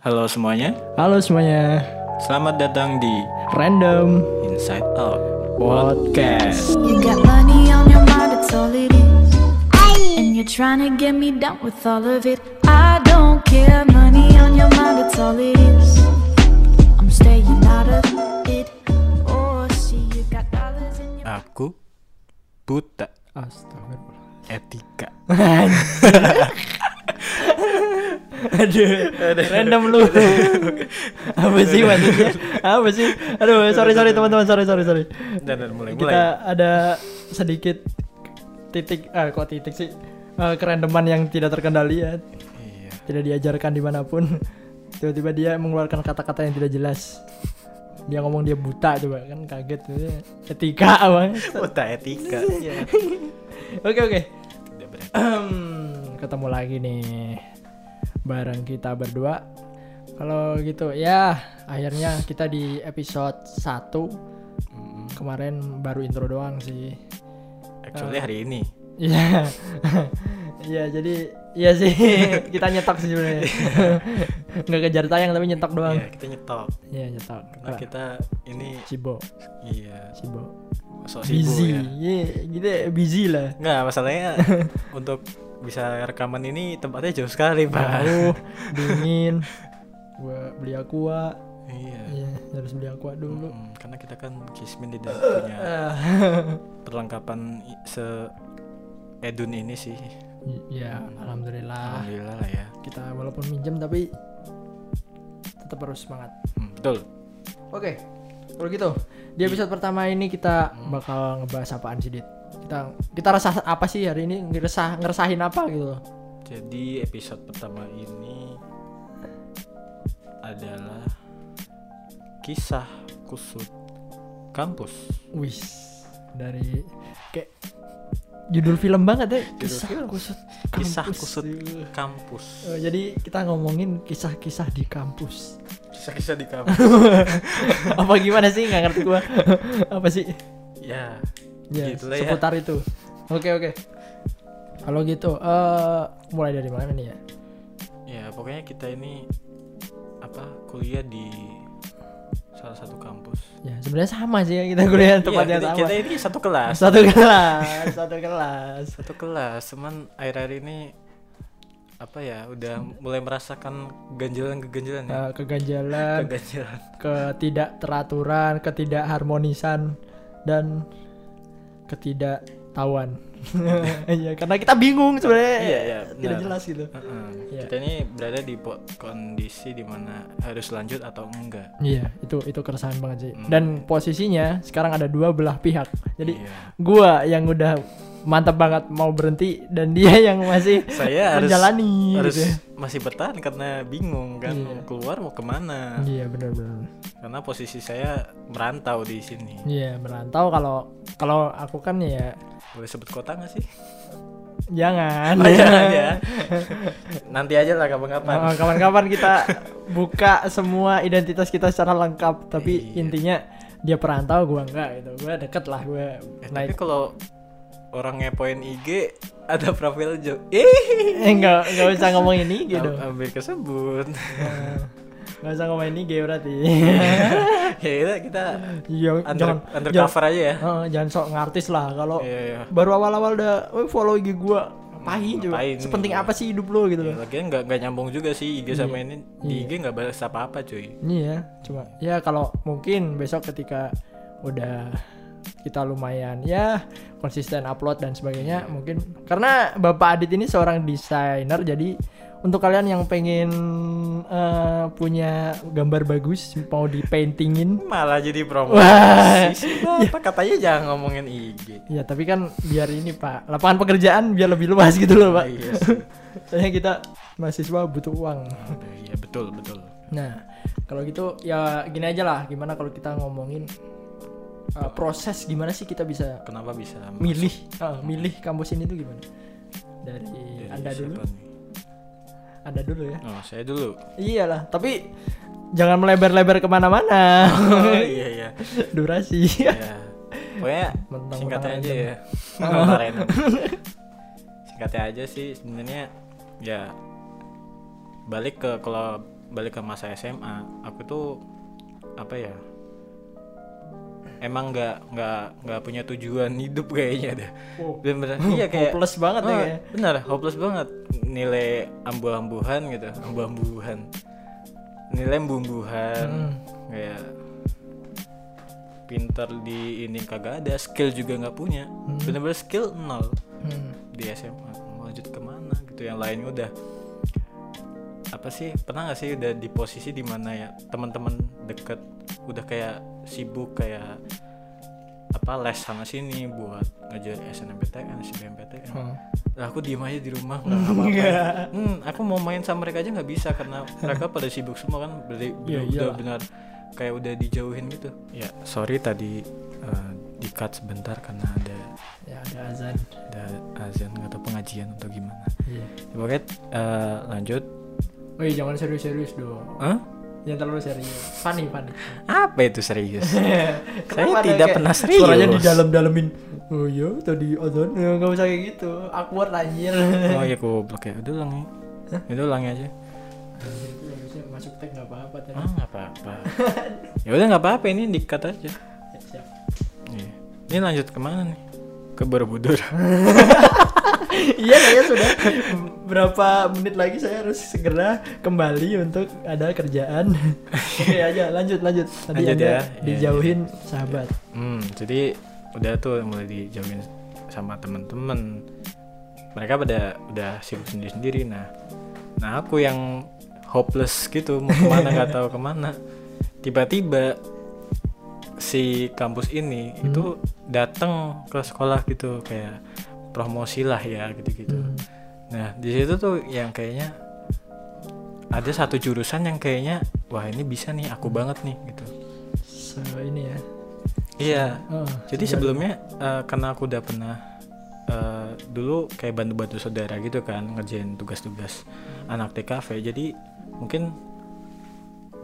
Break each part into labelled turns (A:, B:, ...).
A: Halo semuanya,
B: Halo semuanya,
A: selamat datang di
B: Random
A: Inside Out.
B: Podcast.
C: You got money on your mind, that's all it is. And you're trying to get me down with all of it. I don't care, money on your mind, that's all it is. I'm staying out of it. Oh, see, you got dollars in your
A: Aku buta
B: Astagfirullah.
A: etika.
B: Aduh, random lu. Apa sih maksudnya? Apa sih? Aduh, sorry sorry teman-teman, sorry sorry sorry.
A: Dan dan mulai
B: Kita
A: mulai.
B: ada sedikit titik, ah kok titik sih? Eh, kerandoman yang tidak terkendali ya,
A: Iya.
B: tidak diajarkan dimanapun. Tiba-tiba dia mengeluarkan kata-kata yang tidak jelas. Dia ngomong dia buta coba kan kaget. Ketika abang.
A: Buta etika.
B: Oke oke.
A: Tidak beres.
B: Ahem, ketemu lagi nih bareng kita berdua. Kalau gitu ya, akhirnya kita di episode 1. Kemarin baru intro doang sih.
A: Actually hari ini.
B: Iya. Iya, jadi iya sih kita nyetok sih sebenarnya. Nggak kejar tayang tapi nyetok doang.
A: Iya, kita nyetok.
B: Iya, nyetok.
A: Karena kita ini
B: Cibo,
A: iya
B: Cibo.
A: sok sibuk
B: Busy.
A: ya.
B: Iya, gitu busy lah.
A: Nggak, masalahnya untuk bisa rekaman ini tempatnya jauh sekali, Iya. Pak.
B: Jauh, dingin. Gua beli aqua.
A: Iya.
B: Iya, harus beli aqua dulu.
A: Mm, karena kita kan Kismin tidak punya perlengkapan i- se edun ini sih.
B: ya, alhamdulillah.
A: Alhamdulillah lah ya.
B: Kita walaupun minjem tapi tetap harus semangat.
A: Mm, betul.
B: Oke. Kalau gitu, di episode pertama ini kita bakal ngebahas apaan sih, Dit? Kita kita resah apa sih hari ini? Ngeresah ngeresahin apa gitu.
A: Jadi episode pertama ini adalah kisah kusut kampus.
B: Wis. Dari kayak judul film banget ya. Kisah
A: film.
B: kusut.
A: Kisah
B: kampus.
A: kusut kampus.
B: Eh, jadi kita ngomongin kisah-kisah di kampus.
A: Kisah-kisah di kampus.
B: apa gimana sih nggak ngerti gua apa sih
A: ya.
B: ya,
A: Gitu lah ya.
B: seputar itu oke oke kalau gitu eh mulai dari mana nih ya
A: Ya, pokoknya kita ini apa? Kuliah di salah satu kampus.
B: ya sebenarnya sama sih ya kita kuliah tempat
A: Iya,
B: yang
A: kita, ya.
B: sama
A: kita ini satu kelas.
B: satu kelas satu kelas
A: Satu kelas, cuman akhir-akhir ini apa ya, udah mulai merasakan keganjalan-keganjalan ya.
B: Eh, keganjalan
A: Keganjalan.
B: ketidakteraturan ketidakharmonisan dan ketidaktahuan Iya, karena kita bingung sebenarnya
A: Iya, iya,
B: Eh, tidak
A: benar.
B: jelas gitu
A: Heeh.
B: Iya.
A: Kita ini berada di po- kondisi dimana harus lanjut atau enggak.
B: Iya, itu itu keresahan banget
A: Hmm.
B: sih. Dan posisinya sekarang ada dua belah pihak. Jadi
A: Iya.
B: gua yang udah mantap banget mau berhenti dan dia yang masih
A: Saya harus
B: menjalani
A: harus
B: gitu ya.
A: masih bertahan karena bingung kan
B: Iya.
A: mau keluar mau kemana.
B: Iya benar-benar.
A: Karena posisi saya merantau di sini.
B: Iya merantau kalau kalau aku kan ya
A: Boleh sebut kota nggak sih?
B: jangan.
A: Oh, jangan ya. Nanti aja lah
B: Oh,
A: kapan-kapan.
B: Kapan-kapan kita buka semua identitas kita secara lengkap.
A: Iya.
B: Tapi intinya dia perantau, gua enggak gitu. Gua deket lah, gua
A: Eh, tapi
B: naik.
A: kalau orang ngepoin IG ada profil Jo. Ih,
B: Eh, enggak enggak usah ngomong ini gitu.
A: am- hampir kesebut.
B: Gak usah ngomong ini gay berarti.
A: ya kita, kita
B: Iya, jangan
A: under, undercover aja ya.
B: Jangan, Oh. Heeh, jangan sok ngartis lah kalau
A: Iya, iya.
B: baru awal-awal udah "Woi, follow IG gua. Ngapain coba?
A: Hmm, ngapain?
B: Sepenting
A: Iya.
B: apa sih hidup lo gitu
A: Ya,
B: loh.
A: lagian nggak nggak nyambung juga sih IG sama
B: Iya.
A: ini di
B: Iya.
A: IG nggak balas apa-apa cuy.
B: Iya, cuma ya kalau mungkin besok ketika udah kita lumayan ya konsisten upload dan
A: Iya.
B: sebagainya mungkin karena Bapak Adit ini seorang desainer jadi untuk kalian yang pengen eh, punya gambar bagus mau di paintingin
A: Malah jadi promosi.
B: Wah.
A: sih, Bapak katanya jangan ngomongin IG.
B: Ya tapi kan biar ini pak lapangan pekerjaan biar lebih luas gitu loh pak.
A: Iya sih.
B: Soalnya kita mahasiswa butuh uang.
A: Aduh, Iya betul betul.
B: Nah kalau gitu ya gini aja lah gimana kalau kita ngomongin uh, proses gimana sih kita bisa
A: Kenapa bisa masuk
B: milih uh, milih kampus ini tuh gimana? Dari,
A: dari
B: anda dulu,
A: Iya, siapa nih?
B: anda dulu ya.
A: Oh saya dulu.
B: Iyalah tapi jangan melebar-lebar kemana-mana.
A: Oh, iya iya.
B: Durasi.
A: Ya. Pokoknya
B: Iya. Mentang-mentang
A: singkatnya aja
B: random. Oh.
A: ya. Mentang-mentang random. singkatnya aja sih sebenarnya ya balik ke kalau balik ke masa SMA aku tuh apa ya emang nggak nggak nggak punya tujuan hidup kayaknya dah
B: Wow.
A: bener iya kayak
B: Oh. Hopeless banget ya
A: Ah,
B: kayaknya.
A: bener hopeless banget nilai ambu-ambuhan gitu ambu-ambuhan nilai bumbuhan
B: Hmm.
A: kayak pintar di ini kagak ada skill juga nggak punya bener-bener skill nol
B: Hmm.
A: di SMA mau lanjut kemana gitu yang lain udah apa sih pernah nggak sih udah di posisi dimana ya teman-teman deket udah kayak sibuk kayak apa les sana sini buat ngejar SNMPTN, SBMPTN.
B: Hmm.
A: Lah Nah, aku diem aja di rumah nggak ngapa-ngapain. Hmm, aku mau main sama mereka aja nggak bisa karena mereka pada sibuk semua kan beli
B: Iya,
A: udah- udah
B: iyalah.
A: benar kayak udah dijauhin gitu. Ya sorry tadi di cut sebentar karena ada
B: Ya ada azan.
A: ada azan atau pengajian atau gimana
B: Iya.
A: ya, pokoknya eh, lanjut
B: Woi, jangan serius-serius dong.
A: Hah?
B: Jangan terlalu serius. Funny, funny.
A: apa itu serius
B: Kenapa ada
A: tidak
B: kayak
A: pernah serius.
B: Suaranya di dalam-dalamin. Oh iya, tadi azan. Ya, nggak usah kayak gitu. Awkward anjir.
A: oh ya goblok ya udah ulangi udah ulangi aja
B: Harusnya Ya, masuk tag nggak apa-apa tadi.
A: ah nggak apa-apa ya udah nggak apa-apa ini dikat aja
B: Ya, siap.
A: Iya. ini lanjut kemana nih ke Borobudur
B: Iya, saya sudah berapa menit lagi saya harus segera kembali untuk ada kerjaan. Oke aja, lanjut lanjut. Tadi
A: Lanjut
B: Anda
A: ya. Iya,
B: dijauhin sahabat.
A: hmm, jadi udah tuh mulai dijauhin sama temen-temen mereka pada udah sibuk sendiri-sendiri nah nah aku yang hopeless gitu mau kemana nggak tahu kemana tiba-tiba si kampus ini itu datang ke sekolah gitu kayak promosi lah ya gitu-gitu
B: Hmm.
A: nah di situ tuh yang kayaknya ada satu jurusan yang kayaknya wah ini bisa nih aku banget nih gitu
B: So, ini ya.
A: iya
B: Oh,
A: jadi
B: segar.
A: sebelumnya eh, karena aku udah pernah eh, dulu kayak bantu-bantu saudara gitu kan ngerjain tugas-tugas anak TKV. Jadi mungkin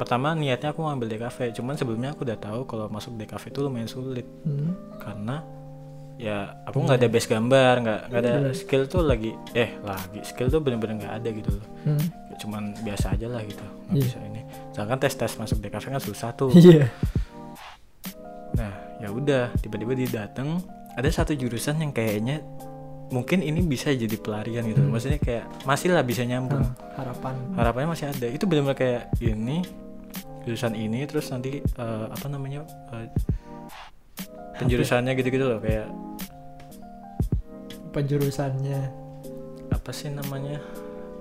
A: pertama niatnya aku mau ambil DKV, cuman sebelumnya aku udah tahu kalau masuk DKV itu lumayan sulit
B: Hmm.
A: karena ya aku nggak ada base gambar, nggak nggak ada
B: Bener.
A: skill tuh lagi eh lagi skill tuh bener-bener nggak ada gitu loh.
B: Hmm.
A: Ya, Cuman biasa aja lah gitu, nggak
B: Iya.
A: bisa ini. Sedangkan tes-tes masuk DKV kan susah tuh.
B: Iya.
A: Nah, ya udah, tiba-tiba dia datang, ada satu jurusan yang kayaknya mungkin ini bisa jadi pelarian gitu.
B: Hmm.
A: Maksudnya kayak masih lah bisa nyambung.
B: Ah, harapan.
A: Harapannya masih ada. Itu benar-benar kayak ini jurusan ini terus nanti eh, apa namanya? eh, penjurusannya gitu-gitu loh kayak
B: Penjurusannya.
A: apa sih namanya?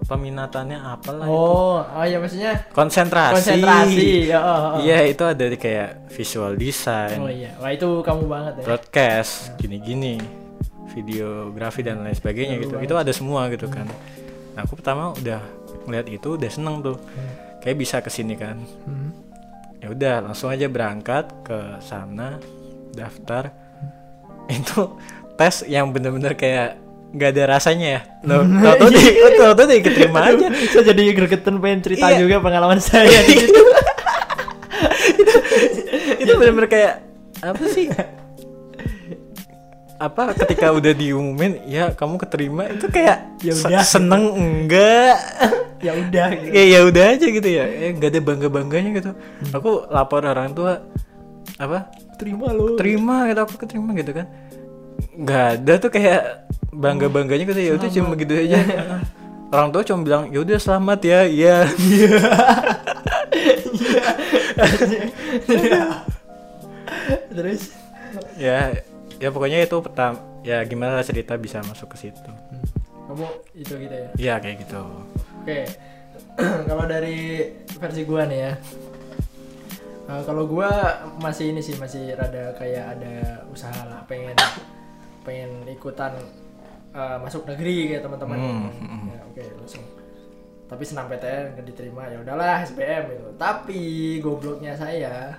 A: Peminatannya apalah itu.
B: Oh, oh ya maksudnya
A: Konsentrasi.
B: konsentrasi. Ya, oh, oh.
A: Iya, itu ada di kayak visual design.
B: Oh iya, wah itu kamu banget ya.
A: broadcast gini-gini videografi dan lain sebagainya
B: Seru
A: gitu
B: banget.
A: itu ada semua gitu kan nah aku pertama udah ngeliat itu udah seneng tuh kayak bisa kesini kan
B: Hmm.
A: ya udah langsung aja berangkat ke sana daftar itu tes yang bener-bener kayak nggak ada rasanya ya no, tau di tau di keterima aja
B: saya jadi gregetan pengen cerita
A: Iya.
B: juga pengalaman saya di situ.
A: itu bener-bener kayak apa sih apa ketika udah diumumin ya kamu keterima itu kayak
B: Ya
A: se-
B: udah.
A: seneng enggak
B: ya udah gitu.
A: ya ya udah aja gitu ya Eh, nggak ada bangga bangganya gitu
B: Hmm.
A: aku lapor orang tua apa
B: Terima lo.
A: terima gitu aku keterima gitu kan nggak ada tuh kayak bangga bangganya gitu ya udah cuma begitu aja orang tua cuma bilang ya udah selamat ya iya
B: Iya. Terus
A: ya ya pokoknya itu pertama ya gimana lah cerita bisa masuk ke situ
B: kamu itu gitu ya.
A: Iya kayak gitu.
B: Oke. kalau dari versi gua nih ya. Eh, kalau gua masih ini sih masih rada kayak ada usaha lah pengen pengen ikutan eh, masuk negeri kayak teman-teman.
A: Hmm, hmm.
B: Ya, oke langsung. Tapi senam PTN nggak diterima ya udahlah SBM gitu. Tapi gobloknya saya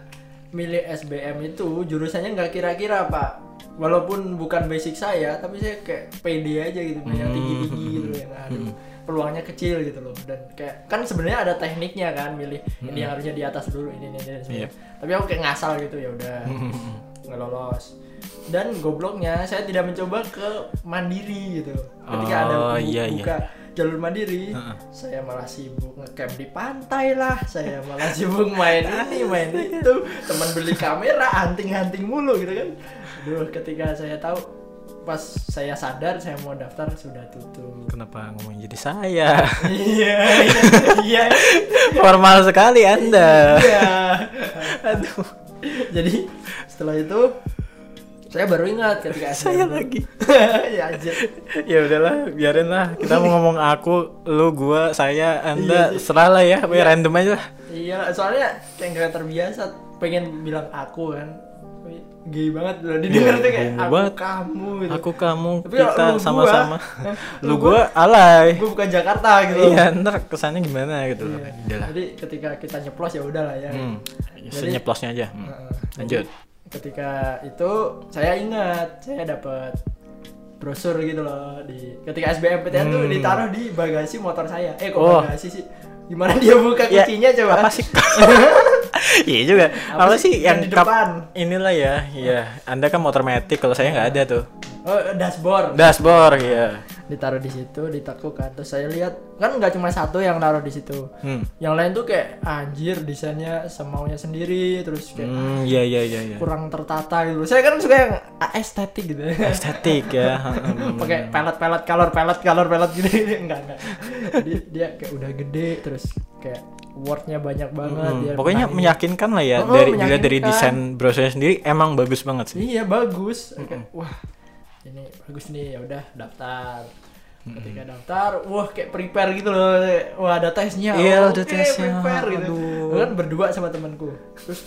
B: milih SBM itu jurusannya nggak kira-kira pak. Walaupun bukan basic saya, tapi saya kayak pede aja gitu, yang tinggi-tinggi
A: Hmm.
B: gitu yang aduh peluangnya kecil gitu loh dan kayak kan sebenarnya ada tekniknya kan milih ini yang harusnya di atas dulu ini ini, ini dan sebagainya.
A: Hmm. Iya.
B: tapi aku kayak ngasal gitu ya udah nggak lolos dan gobloknya saya tidak mencoba ke mandiri gitu ketika ada
A: Oh,
B: bu-
A: iya, iya.
B: buka jalur mandiri
A: Heeh.
B: saya malah sibuk ngecamp di pantai lah saya malah sibuk main ini main itu teman beli kamera anting-anting mulu gitu kan aduh ketika saya tahu pas saya sadar saya mau daftar sudah tutup
A: Kenapa ngomongin jadi saya?
B: iya iya
A: Formal sekali Anda.
B: iya aduh jadi setelah itu saya baru ingat ketika
A: saya
B: SBM.
A: lagi.
B: ya anjir
A: ya udahlah, biarin lah. Kita mau ngomong aku, lu, gua, saya, Anda, serah lah ya. Pokoknya random aja lah.
B: Iya, soalnya kayak nggak terbiasa pengen bilang aku kan. Tapi Gay banget loh didengar
A: Iya,
B: tuh kayak
A: homo
B: aku
A: banget.
B: kamu gitu.
A: Aku, kamu,
B: Tapi kalau lu
A: kita
B: gua,
A: sama-sama.
B: eh,
A: Lu gua alay.
B: gue bukan Jakarta gitu.
A: Iya, ntar kesannya gimana gitu.
B: Iya.
A: loh. Udahlah.
B: Jadi ketika kita nyeplos ya udahlah ya.
A: Hmm.
B: Jadi-
A: Senyeplosnya aja. Hmm.
B: Heeh.
A: Lanjut.
B: Ketika itu saya ingat saya dapat brosur gitu loh di ketika SBMPTN tuh
A: Hmm.
B: ditaruh di bagasi motor saya. Eh kok
A: Oh.
B: bagasi sih? Gimana dia buka
A: Ya,
B: kuncinya coba?
A: Apa sih? Iya juga. Apa, sih yang
B: di
A: kap-
B: depan?
A: Inilah ya, iya. Anda kan motor matic, kalau saya nggak ada tuh.
B: Oh, dashboard.
A: Dashboard, iya.
B: ditaruh di situ ditekuk kan terus saya lihat kan nggak cuma satu yang naruh di situ
A: Hmm.
B: yang lain tuh kayak anjir desainnya semaunya sendiri terus kayak
A: Hmm, iya iya iya iya.
B: kurang tertata gitu saya kan suka yang estetik gitu
A: Estetik ya. Hmm.
B: pakai pelet-pelet color pelet color pelet gitu enggak enggak jadi dia kayak udah gede terus kayak wordnya banyak banget
A: Hmm,
B: dia
A: pokoknya
B: main.
A: meyakinkan lah ya
B: Oh,
A: dari dilihat dari
B: meyakinkan.
A: desain browsernya sendiri emang bagus banget sih.
B: Iya bagus. Kayak, Wah ini bagus nih ya udah daftar. Ketika daftar, wah kayak prepare gitu loh. Wah ada tesnya.
A: Iya,
B: Oh,
A: ada
B: oke,
A: tesnya.
B: Prepare gitu.
A: Aduh.
B: Gua Kan berdua sama temanku. Terus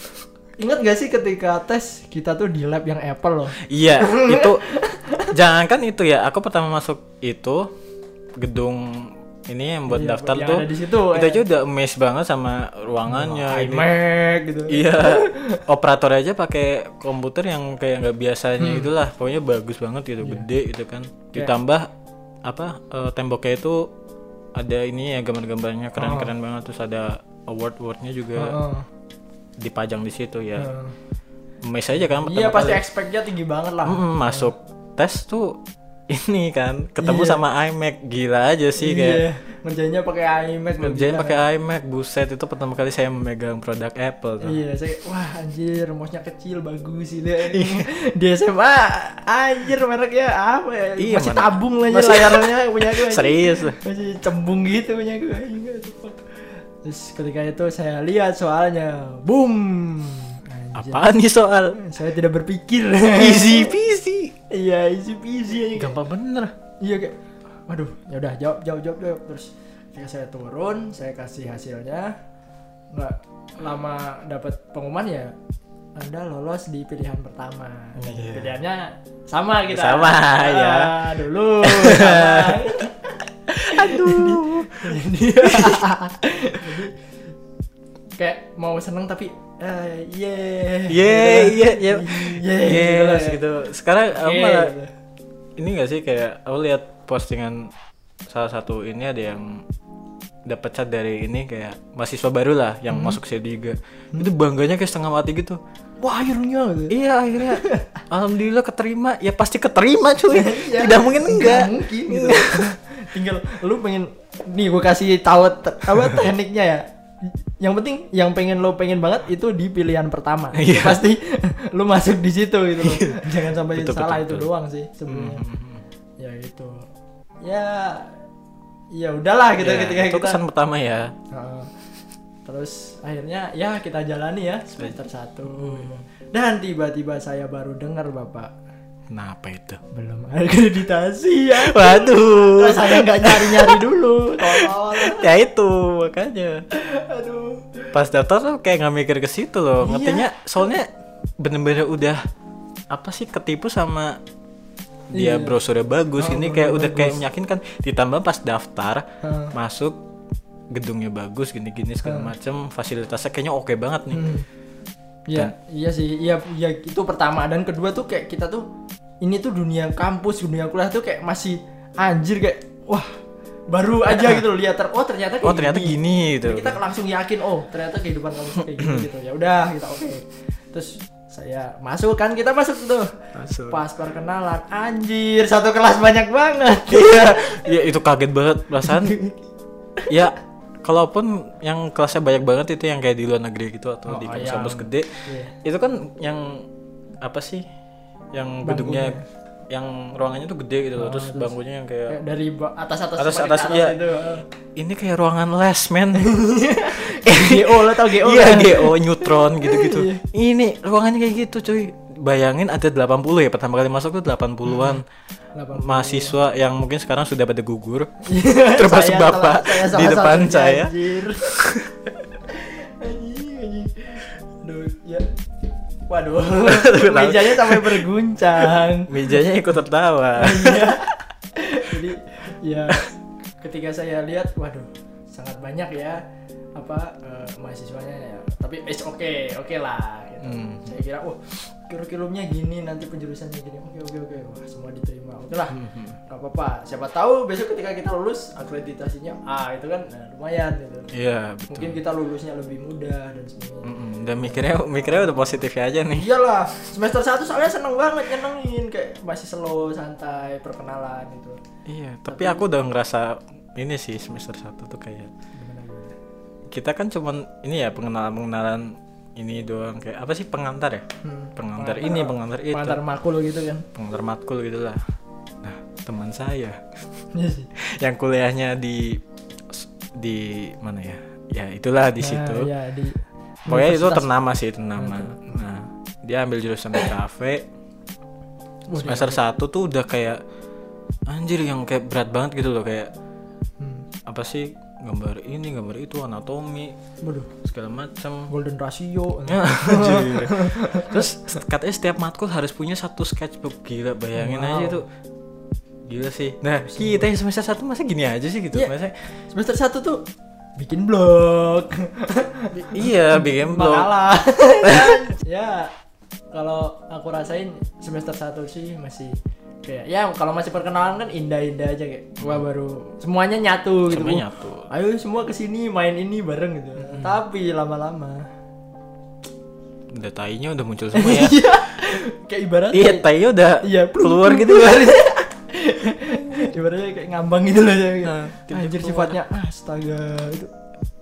B: ingat gak sih ketika tes kita tuh di lab yang Apple loh.
A: Iya, itu jangankan itu ya. Aku pertama masuk itu gedung ini yang buat
B: Iya,
A: daftar
B: yang
A: tuh.
B: ada di situ,
A: Itu
B: eh.
A: aja udah amazed banget sama ruangannya. Nah, ini.
B: iMac gitu.
A: Iya, operator aja pakai komputer yang kayak nggak biasanya
B: Hmm.
A: itulah. Pokoknya bagus banget gitu,
B: Iya.
A: gede gitu kan. Ditambah apa eh, temboknya itu ada ini ya gambar-gambarnya keren-keren
B: Oh.
A: banget terus ada award-awardnya juga
B: Heeh.
A: dipajang di situ ya.
B: Heeh.
A: Mes aja kan pertama
B: Oh. Iya pasti
A: kali.
B: expect-nya tinggi banget lah.
A: Mm-mm, masuk tes tuh ini kan ketemu
B: Iya.
A: sama iMac gila aja sih kayak
B: Iya, ngerjainnya pakai iMac loh,
A: kerjain
B: gila.
A: pakai iMac buset itu pertama kali saya memegang produk Apple tuh.
B: Iya, saya wah anjir, mouse-nya kecil bagus sih dia.
A: Iya.
B: Di SMA anjir mereknya apa ya?
A: Iya,
B: masih
A: mana-
B: tabung aja
A: masih-
B: layarnya Iya, punya Iya. gue. anjing.
A: serius
B: Masih cembung gitu punya gue. anjing, gak support. Terus ketika itu saya lihat soalnya, boom. Anjir.
A: apaan nih soal
B: Saya tidak berpikir.
A: easy peasy
B: Iya, easy peasy aja. kayak-
A: gampang bener
B: Iya kayak waduh, ya udah jawab jawab jawab jawab terus ketika saya turun, saya kasih hasilnya. Nggak lama dapat pengumuman ya Anda lolos di pilihan pertama.
A: Iya.
B: Pilihannya sama kita.
A: Sama,
B: Ah,
A: ya.
B: Dulu sama.
A: aduh
B: Jadi kayak mau seneng tapi eh Iya,
A: Iya,
B: ye.
A: ye ye ye
B: Ye,
A: ye
B: gitu lah.
A: iya. gitu sekarang aku
B: Ye,
A: malah
B: gitu.
A: ini gak sih kayak aku lihat postingan salah satu ini ada yang dapat cat dari ini kayak mahasiswa baru lah yang
B: Hmm.
A: masuk C3 itu bangganya kayak setengah mati gitu
B: Wah, akhirnya gitu.
A: iya akhirnya alhamdulillah keterima ya pasti keterima cuy
B: Ya,
A: tidak mungkin enggak Iya.
B: nggak mungkin gitu tinggal lu pengen nih gue kasih tahu te- apa tekniknya ya yang penting yang pengen lo pengen banget itu di pilihan pertama
A: Iya.
B: Itu pasti lu masuk di situ gitu loh. jangan sampai
A: Betul, betul,
B: salah
A: Hmm,
B: itu
A: betul.
B: doang sih sebenarnya ya gitu ya ya udahlah gitu
A: Ya,
B: ketika
A: itu
B: kita
A: kesan pertama ya
B: Heeh. terus akhirnya ya kita jalani ya semester
A: Iya.
B: satu dan tiba-tiba saya baru dengar bapak
A: kenapa Nah, itu
B: belum akreditasi ya
A: waduh
B: Terus saya nggak nyari-nyari dulu. Tolol.
A: ya itu makanya
B: Aduh.
A: pas daftar tuh kayak nggak mikir ke situ loh
B: Iya.
A: ngertinya soalnya bener-bener udah apa sih ketipu sama dia
B: Iya.
A: brosurnya bagus
B: Oh,
A: ini
B: brosurnya
A: kayak udah kayak
B: bagus.
A: meyakinkan ditambah pas daftar
B: Heeh.
A: masuk gedungnya bagus gini-gini segala macem fasilitasnya kayaknya oke banget nih
B: Hmm. Iya, iya sih. Iya, iya itu pertama dan kedua tuh kayak kita tuh ini tuh dunia kampus, dunia kuliah tuh kayak masih anjir kayak wah baru aja gitu loh lihat ter- oh ternyata kayak
A: oh ternyata gini gitu
B: Kita langsung yakin oh ternyata kehidupan kampus kayak gitu gitu. Ya udah kita oke. Terus saya masuk kan kita masuk tuh
A: Masuk.
B: pas perkenalan anjir satu kelas banyak banget
A: Iya, iya itu kaget banget perasaan. ya, kalaupun yang kelasnya banyak banget itu yang kayak di luar negeri gitu atau
B: Oh,
A: di
B: oh,
A: kampus-kampus
B: yang-
A: gede,
B: Iya.
A: itu kan yang apa sih? Yang gedungnya, yang ruangannya tuh gede gitu loh. Terus bangkunya yang kayak
B: Kayak dari atas atas
A: Atas- atas, iya. ini kayak ruangan les men.
B: GO lo tau GO
A: Iya,
B: kan?
A: GO, neutron gitu-gitu. ini ruangannya kayak gitu, cuy. Bayangin ada 80 ya pertama kali masuk tuh 80-an.
B: 80.
A: mahasiswa yang mungkin sekarang sudah pada gugur termasuk
B: Saya
A: bapak
B: salah- saya
A: di
B: salah
A: depan
B: satunya,
A: saya
B: anjir. Anjing, anjing. Aduh, ya. Waduh, mejanya sampai berguncang.
A: mejanya ikut tertawa
B: Iya. Jadi ya ketika saya lihat waduh sangat banyak ya apa eh, mahasiswanya ya. Tapi it's oke, oke lah gitu.
A: Hmm.
B: Saya kira oh kurikulumnya gini nanti penjurusannya gini. Oke oke oke. Wah, semua diterima. Oke lah.
A: Hmm,
B: Gak apa-apa. Siapa tahu besok ketika kita lulus akreditasinya A itu kan nah, lumayan gitu.
A: iya
B: Mungkin
A: betul Hmm.
B: kita lulusnya lebih mudah dan sebagainya.
A: Mm-mm, dan mikirnya mikirnya udah positif aja nih
B: Iyalah, semester 1 soalnya seneng banget nyenengin kayak masih slow, santai, perkenalan gitu.
A: iya tapi aku udah ngerasa ini sih semester satu tuh kayak
B: Gimana gimana?
A: kita kan cuman ini ya pengenalan pengenalan ini doang kayak apa sih pengantar ya
B: Hmm.
A: pengantar ini pengantar itu
B: pengantar makul gitu kan
A: pengantar matkul gitu lah nah teman saya
B: iya sih
A: yang kuliahnya di di mana ya ya itulah di situ
B: nah, ya, di
A: Pokoknya itu
B: universitas.
A: ternama sih, ternama. Nah, dia ambil jurusan kafe.
B: Wah,
A: Semester 1 tuh udah kayak anjir yang kayak berat banget gitu loh, kayak
B: hmm.
A: apa sih gambar ini, gambar itu, anatomi,
B: waduh
A: segala macam.
B: golden ratio
A: Ya, anjir. Terus katanya setiap matkul harus punya satu sketchbook gila, bayangin
B: Wow.
A: aja itu. Gila sih. Nah, kita yang semester 1 masa gini aja sih gitu.
B: Iya.
A: Masa
B: semester 1 tuh bikin blog
A: iya, bikin blog.
B: makalah ya kalau aku rasain semester 1 sih masih kayak ya kalau masih perkenalan kan indah-indah aja kayak gua baru semuanya nyatu gitu
A: Hmm. Semuanya nyatu. Hmm.
B: ayo semua kesini main ini bareng gitu tapi lama-lama
A: Udah tainya udah muncul semua ya.
B: Iya. kayak ibarat
A: Iya, tainya udah
B: Iya, plung,
A: keluar
B: plung,
A: gitu.
B: keluar. Ibaratnya kayak ngambang gitu loh saya.
A: Nah, tiba-tiba
B: Anjir
A: keluar.
B: sifatnya astaga itu.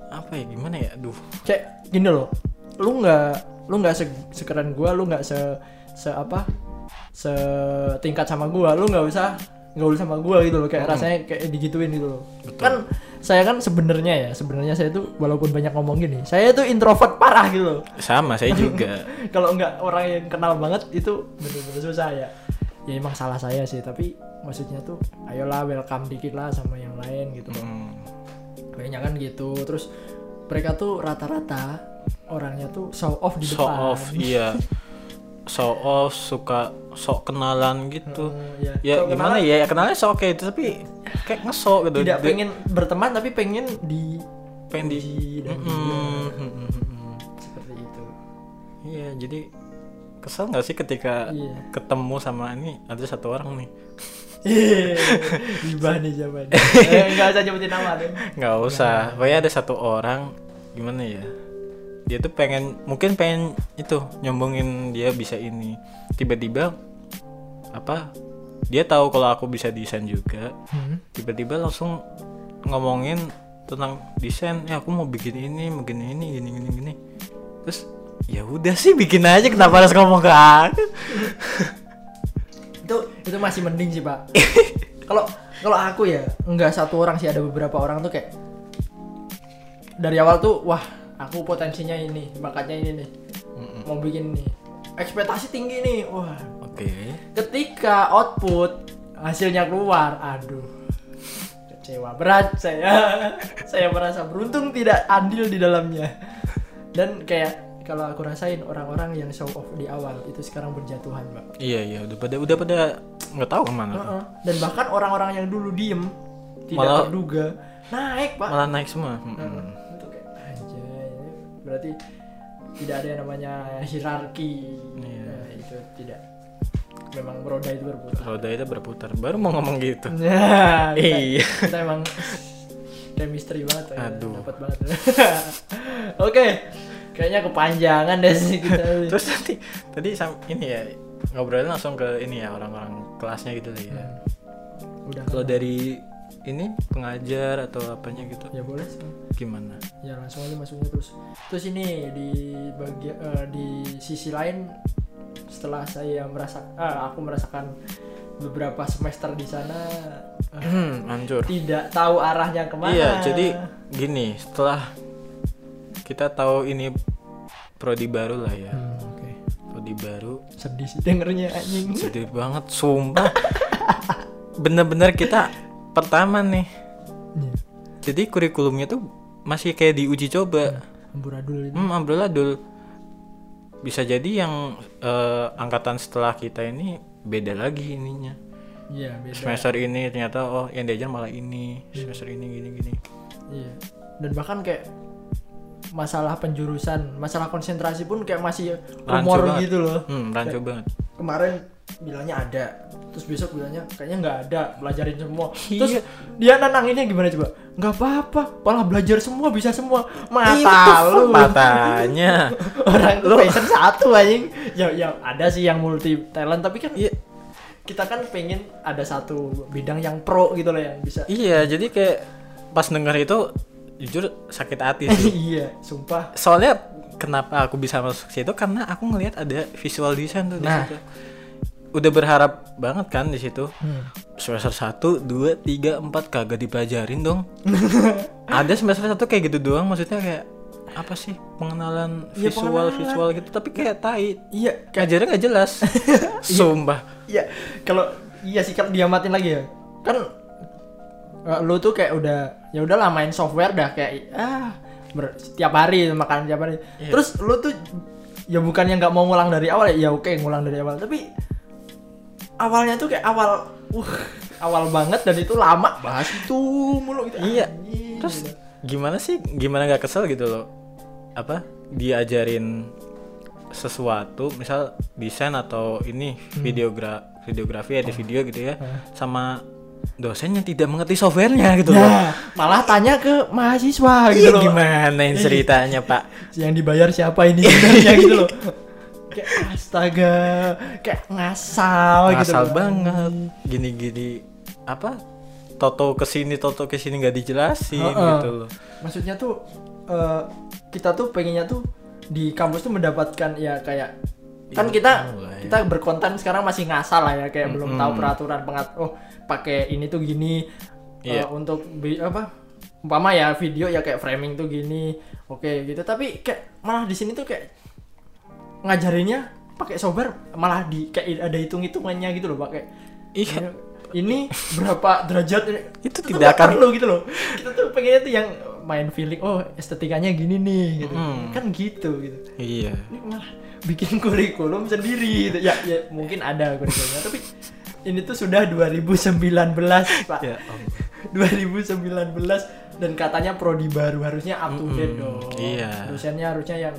A: apa ya gimana ya aduh
B: Kayak gini loh. Lu nggak lu nggak se sekeren gua, lu nggak se se apa? Se tingkat sama gua, lu nggak usah gaul sama gua gitu loh kayak rasanya kayak digituin gitu loh.
A: Hmm. Betul.
B: Kan saya kan sebenarnya ya, sebenarnya saya tuh walaupun banyak ngomong gini, saya tuh introvert parah gitu loh.
A: sama saya juga
B: kalau nggak orang yang kenal banget itu bener-bener susah ya ya emang salah saya sih tapi maksudnya tuh ayolah welcome dikit lah sama yang lain gitu loh
A: Hmm,
B: banyak kan gitu terus mereka tuh rata-rata orangnya tuh show off di
A: show
B: depan
A: off iya show off suka sok kenalan gitu
B: Hmm, iya.
A: ya
B: Show
A: gimana
B: kenalan.
A: ya kenalnya sok oke itu tapi kayak ngesok gitu Dia-
B: tidak pengen berteman tapi pengen di
A: pengen di
B: puji dan
A: Mm-mm,
B: dihina.
A: mm-mm, mm-mm.
B: seperti itu
A: iya jadi kesel nggak sih ketika
B: Iya.
A: ketemu sama ini ada satu orang nih
B: Gibah nih jawabannya Eh, nggak usah nyebutin nama deh
A: nggak usah pokoknya ada satu orang gimana ya dia tuh pengen mungkin pengen itu nyombongin dia bisa ini tiba-tiba apa dia tahu kalau aku bisa desain juga
B: Hmm.
A: tiba-tiba langsung ngomongin tentang desain ya aku mau bikin ini mau gini ini gini gini gini terus ya udah sih bikin aja kenapa harus ngomong ke aku
B: itu itu masih mending sih pak kalau kalau aku ya nggak satu orang sih ada beberapa orang tuh kayak dari awal tuh wah aku potensinya ini bakatnya ini nih mau bikin ini ekspektasi tinggi nih wah
A: oke
B: ketika output hasilnya keluar aduh kecewa berat saya saya merasa beruntung tidak andil di dalamnya dan kayak kalau aku rasain orang-orang yang show off di awal itu sekarang berjatuhan pak
A: iya iya udah pada udah pada nggak tahu kemana
B: Heeh. Dan bahkan orang-orang yang dulu diem tidak
A: Malah-
B: terduga naik pak.
A: malah Hmm. naik semua Mm-mm.
B: Heeh. Itu kayak anjay. Berarti tidak ada yang namanya hierarki.
A: Iya.
B: Nah, itu tidak. Memang roda itu berputar.
A: roda itu berputar baru mau ngomong gitu
B: Nah, kita,
A: Iya.
B: kita emang chemistry banget, ya.
A: Aduh.
B: dapat banget. Oke, Kayaknya kepanjangan deh sih kita.
A: terus nanti tadi sam- ini ya ngobrolnya langsung ke ini ya orang-orang kelasnya gitu lah ya
B: Iya. Hmm. udah
A: kalau
B: kenal.
A: dari ini pengajar atau apanya gitu
B: ya boleh sih.
A: gimana
B: ya langsung aja masuknya terus terus ini di bagia, eh, di sisi lain setelah saya merasa ah, aku merasakan beberapa semester di sana eh,
A: hancur
B: tidak tahu arahnya kemana
A: iya jadi gini setelah kita tahu ini prodi baru lah ya
B: Hmm, oke.
A: prodi baru
B: sedih sih dengernya anjing
A: sedih banget sumpah bener-bener kita pertama nih
B: Iya,
A: jadi kurikulumnya tuh masih kayak diuji
B: Hmm.
A: coba
B: amburadul ini
A: hmm amburadul bisa jadi yang eh, angkatan setelah kita ini beda lagi ininya
B: iya beda
A: semester ini ternyata oh yang diajar malah ini semester ini gini gini
B: iya dan bahkan kayak masalah penjurusan masalah konsentrasi pun kayak masih
A: Rancu
B: rumor
A: banget.
B: gitu loh
A: hmm rancu banget
B: kemarin bilangnya ada terus besok bilangnya kayaknya nggak ada belajarin semua
A: Iya.
B: terus dia nananginnya gimana coba nggak apa-apa malah belajar semua bisa semua
A: Itu
B: mata lu
A: matanya
B: orang lu passion satu anjing ya ya ada sih yang multi talent tapi kan
A: Iya.
B: kita kan pengen ada satu bidang yang pro gitu loh yang bisa
A: iya jadi kayak pas denger itu jujur sakit hati sih
B: iya sumpah
A: soalnya kenapa aku bisa masuk situ karena aku ngelihat ada visual design tuh di
B: Nah.
A: situ udah berharap banget kan di situ
B: Hmm.
A: semester 1, 2, 3, 4 kagak dipelajarin dong ada semester 1 kayak gitu doang maksudnya kayak apa sih pengenalan
B: Iya,
A: visual
B: pengenalan.
A: visual gitu tapi kayak tai
B: iya
A: ajarannya nggak jelas sumpah
B: Iya, kalau iya sih kalau diamatin lagi ya. Kan eh, lu tuh kayak udah ya udahlah main software dah kayak ah ber- setiap hari makanan tiap hari. Terus lu tuh ya bukannya nggak mau ngulang dari awal ya, ya oke ngulang dari awal, tapi awalnya tuh kayak awal uh awal banget dan itu lama bahas itu mulu gitu.
A: Iya.
B: Anjing,
A: terus
B: gitu.
A: gimana sih gimana nggak kesel gitu loh apa diajarin sesuatu misal desain atau ini
B: Hmm.
A: videogra videografi ada
B: Oh.
A: video gitu ya sama dosennya tidak mengerti softwarenya gitu loh
B: Nah, malah tanya ke mahasiswa gitu
A: Iya,
B: loh.
A: gimana ini ceritanya pak
B: yang dibayar siapa ini sebenarnya gitu loh kayak astaga kayak ngasal, gitu
A: ngasal
B: loh.
A: banget gini-gini apa toto kesini toto kesini nggak dijelasin
B: Heeh.
A: gitu loh
B: maksudnya tuh eh, kita tuh pengennya tuh di kampus tuh mendapatkan ya kayak kan
A: Ilmu
B: kita
A: lah ya.
B: kita berkonten sekarang masih ngasal lah ya kayak belum tahu peraturan pengat oh pakai ini tuh gini eh,
A: Iya.
B: untuk bi- apa umpama ya video ya kayak framing tuh gini oke gitu tapi kayak malah di sini tuh kayak ngajarinnya pakai software malah di kayak ada hitung hitungannya gitu loh pakai
A: iya
B: ini berapa derajat ini.
A: Itu
B: tuh
A: tidak
B: nggak
A: akan-
B: perlu gitu loh kita tuh pengennya tuh yang main feeling oh estetikanya gini nih gitu
A: Mm.
B: kan gitu gitu
A: iya
B: ini malah bikin kurikulum sendiri gitu ya, ya mungkin ada kurikulumnya tapi ini tuh sudah 2019 pak
A: ya Allah.
B: 2019 dan katanya prodi baru harusnya up to date
A: Mm-mm,
B: dong
A: iya.
B: dosennya harusnya yang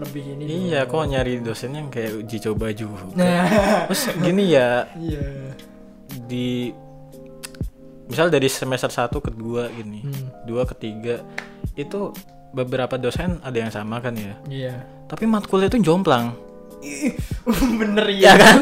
B: lebih ini
A: Iya,
B: dong.
A: kok nyari dosen yang kayak uji coba juga.
B: nah
A: Terus gini ya,
B: iya
A: di misal dari semester 1 ke 2 gini,
B: Hmm.
A: 2 ke 3 itu beberapa dosen ada yang sama kan ya.
B: iya
A: Tapi matkulnya itu jomplang.
B: bener
A: Iya kan?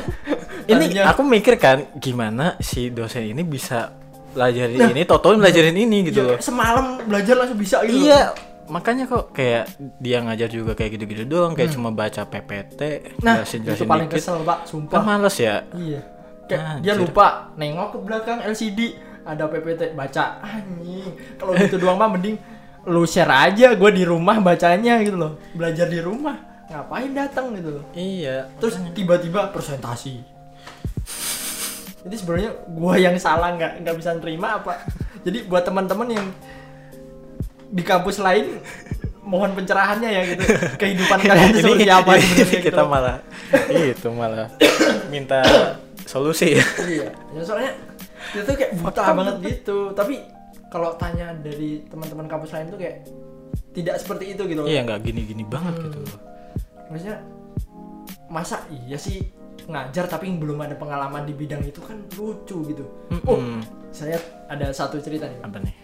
A: Ini
B: Tadinya-
A: aku mikir kan gimana si dosen ini bisa belajarin ini, toto belajarin ini gitu
B: Nah. Iya,
A: loh.
B: kayak semalam belajar langsung bisa gitu. loh.
A: Iya, makanya kok kayak dia ngajar juga kayak gitu-gitu doang, kayak cuma baca PPT,
B: Hmm. Nah, itu
A: jelasin-jelasin
B: paling
A: dikit. Ah,
B: kesel, Pak,
A: Kan
B: sumpah.
A: males ya.
B: Iya. Kayak
A: Anjir.
B: dia lupa nengok ke belakang LCD, ada PPT baca. Anjing. Kalau gitu doang mah mending lu share aja gue di rumah bacanya gitu loh. Belajar di rumah. Ngapain datang gitu loh.
A: Iya,
B: Terus tiba-tiba presentasi. Jadi sebenarnya gua yang salah nggak nggak bisa nerima apa. Jadi buat teman-teman yang di kampus lain mohon pencerahannya ya gitu. Kehidupan
A: Nah,
B: kalian itu seperti apa
A: Iya, ini
B: sebenarnya gitu
A: kita
B: loh.
A: malah itu malah minta solusi ya.
B: Iya. Ya, soalnya itu tuh kayak buta banget gitu. Tapi kalau tanya dari teman-teman kampus lain tuh kayak tidak seperti itu gitu. loh.
A: Iya nggak gini-gini banget gitu loh.
B: maksudnya masa iya sih ngajar tapi belum ada pengalaman di
A: Hmm.
B: bidang itu kan lucu gitu oh
A: Mm-mm.
B: saya ada satu cerita nih Pak.
A: Apa nih?
B: Eh,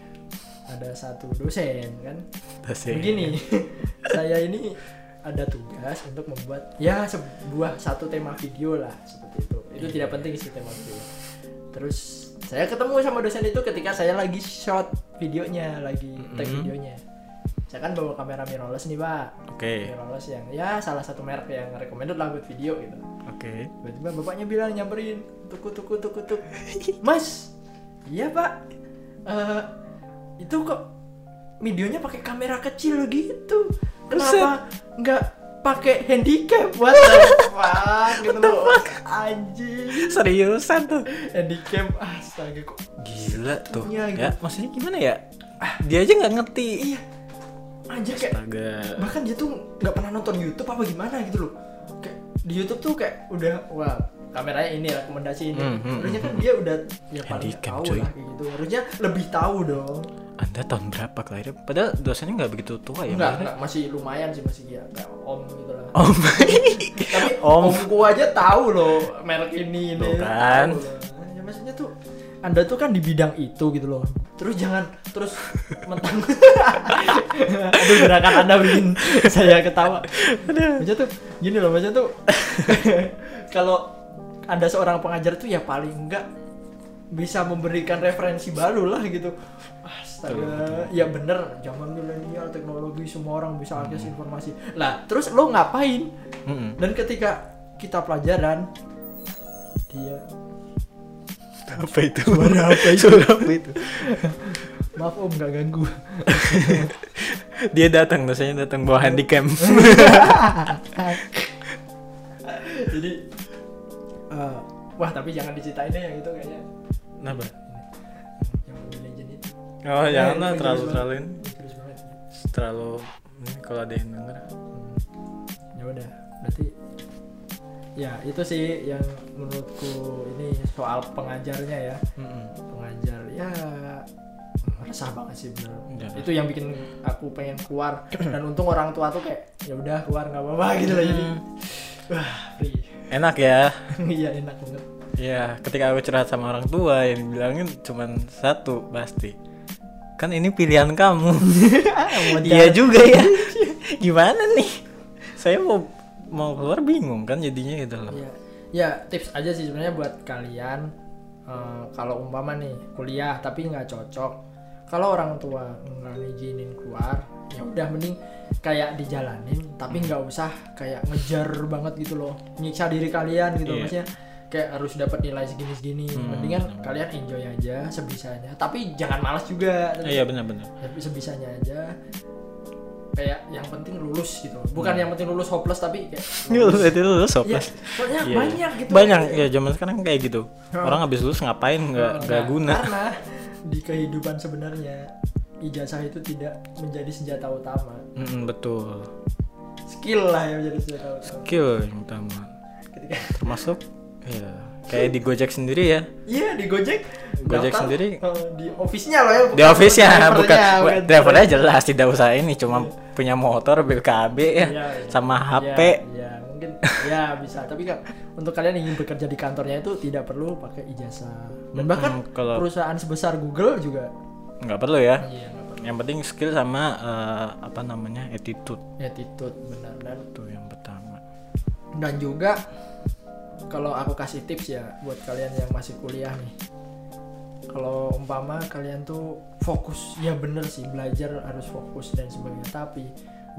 B: ada satu dosen kan
A: Dosen.
B: begini saya ini ada tugas untuk membuat ya sebuah satu tema video lah seperti itu itu tidak penting sih tema video terus saya ketemu sama dosen itu ketika saya lagi shot videonya lagi take
A: Mhm.
B: videonya saya kan bawa kamera mirrorless nih pak
A: Oke,
B: mirrorless yang ya salah satu merek yang recommended lah buat video gitu
A: oke.
B: tiba-tiba bapaknya bilang nyamperin tuku tuku tuku tuk mas iya pak Eh, itu kok videonya pakai kamera kecil gitu kenapa nggak pakai handicap what the fuck gitu loh anjing
A: Seriusan tuh.
B: handicap astaga kok
A: Gila tuh.
B: Iya, gitu.
A: Ya, maksudnya gimana ya? Dia aja nggak ngerti.
B: iya anjir kayak
A: Astaga.
B: bahkan dia tuh nggak pernah nonton YouTube apa gimana gitu loh kayak di YouTube tuh kayak udah wah kameranya ini rekomendasi ini
A: Hmm, hmm,
B: harusnya
A: hmm,
B: kan dia udah ya paling
A: Handicap,
B: tahu
A: cuy.
B: lah kayak gitu harusnya lebih tahu dong
A: Anda tahun berapa kelahiran? Padahal dosennya nggak begitu tua ya.
B: enggak
A: maksudnya.
B: enggak masih lumayan sih masih ya kayak om gitu lah
A: Om.
B: tapi
A: Om. Iya.
B: om gua aja tahu loh merek ini ini
A: Tuh kan.
B: Tahu loh. ya maksudnya tuh anda tuh kan di bidang itu gitu loh terus jangan terus mentang aduh gerakan anda bikin saya ketawa maksudnya tuh gini loh maksudnya tuh kalau anda seorang pengajar tuh ya paling enggak bisa memberikan referensi baru lah gitu astaga ya bener zaman milenial teknologi semua orang bisa akses
A: Hmm.
B: informasi lah terus lo ngapain
A: Mm-mm.
B: dan ketika kita pelajaran dia
A: Apa itu? Suara apa itu? Suara apa itu?
B: maaf om nggak ganggu
A: Dia datang, dosennya datang bawa handycam.
B: Hmm. jadi eh, wah tapi jangan diceritain deh yang itu kayaknya
A: Kenapa?
B: yang Mobile Legend itu
A: Oh,
B: Ya,
A: janganlah
B: itu
A: terlalu
B: jelas
A: terlalu ini.
B: banget. Itu jelas banget.
A: terlalu ini kalau ada yang denger.
B: ya udah berarti ya itu sih yang menurutku ini soal pengajarnya ya
A: Mm-mm.
B: pengajar ya resah banget sih bener
A: Udah.
B: itu yang bikin aku pengen keluar dan untung orang tua tuh kayak ya udah keluar nggak apa-apa gitu loh jadi
A: Hmm.
B: wah free
A: Enak ya.
B: iya enak banget
A: Iya, ketika aku curhat sama orang tua yang dibilangin cuman satu pasti. Kan ini pilihan kamu.
B: Ah,
A: Iya juga ya. Gimana nih? Saya mau mau keluar bingung kan jadinya gitu loh.
B: ya ya tips aja sih sebenarnya buat kalian eh, kalau umpama nih kuliah tapi nggak cocok kalau orang tua nggak ngizinin keluar ya udah mending kayak dijalanin tapi nggak usah kayak ngejar banget gitu loh nyiksa diri kalian gitu
A: Iya.
B: maksudnya kayak harus dapat nilai segini segini
A: Hmm,
B: mendingan
A: bener.
B: kalian enjoy aja sebisanya tapi jangan malas juga
A: Eh, Iya benar-benar.
B: tapi sebisanya aja kayak yang penting lulus gitu bukan
A: Iya.
B: yang penting lulus hopeless tapi kayak lulus.
A: Itu lulus
B: Iya,
A: hopeless.
B: soalnya
A: Iya, iya.
B: banyak gitu.
A: Banyak ya zaman sekarang kayak gitu.
B: Oh.
A: Orang habis lulus ngapain nggak
B: Nah,
A: nggak guna.
B: Karena di kehidupan sebenarnya ijazah itu tidak menjadi senjata utama.
A: Mm-mm, betul.
B: Skill lah yang menjadi senjata utama.
A: Skill yang utama.
B: Ketika
A: Termasuk ya kayak di Gojek sendiri ya.
B: Iya di Gojek.
A: Gojek
B: daftar,
A: sendiri.
B: eh, di office-nya loh ya.
A: di office ya
B: drivernya,
A: bukan drivernya jelas tidak usah ini cuma punya motor BKB ya
B: Iya, iya.
A: sama
B: Iya,
A: HP
B: Iya, mungkin ya bisa. Tapi kan untuk kalian yang ingin bekerja di kantornya itu tidak perlu pakai ijazah. Dan bahkan
A: Mm, kalau-
B: perusahaan sebesar Google juga
A: nggak perlu ya
B: iya nggak perlu.
A: yang penting skill sama eh, apa namanya attitude
B: Attitude benar dan
A: tuh yang pertama
B: dan juga kalau aku kasih tips ya buat kalian yang masih kuliah nih kalau umpama kalian tuh fokus ya bener sih belajar harus fokus dan sebagainya tapi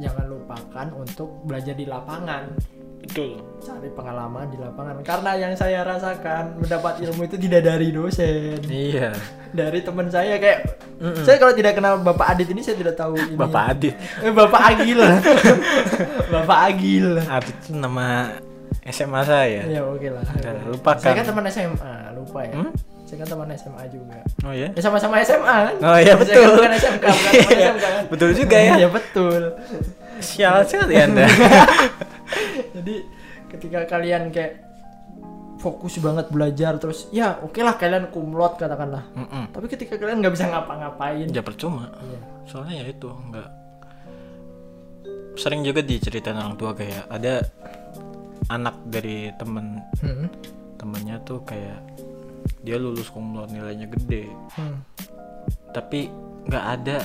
B: jangan lupakan untuk belajar di lapangan
A: betul
B: cari pengalaman di lapangan karena yang saya rasakan mendapat ilmu itu tidak dari dosen
A: iya
B: dari teman saya kayak saya kalau tidak kenal bapak Adit ini saya tidak tahu ini
A: Bapak Adit
B: eh bapak Agil bapak Agil
A: Adit itu nama SMA saya
B: Ya oke lah.
A: Udah,
B: Oke.
A: Iya, Nah, lupakan.
B: Saya kan teman SMA, lupa ya.
A: Hmm?
B: Saya kan teman SMA juga.
A: oh ya
B: Ya sama-sama SMA kan?
A: oh iya
B: Saya
A: betul
B: kan bukan SMK, bukan teman
A: Iya,
B: SMK kan?
A: betul juga ya
B: ya betul.
A: sial sekali anda
B: Jadi ketika kalian kayak fokus banget belajar terus ya oke lah kalian kumlot katakanlah.
A: Mm-mm.
B: Tapi ketika kalian nggak bisa ngapa-ngapain.
A: ya percuma
B: Iya.
A: soalnya ya itu nggak sering juga diceritain orang tua kayak ada anak dari temen
B: Hmm.
A: temennya tuh kayak dia lulus kumlot nilainya gede
B: Hmm.
A: tapi nggak ada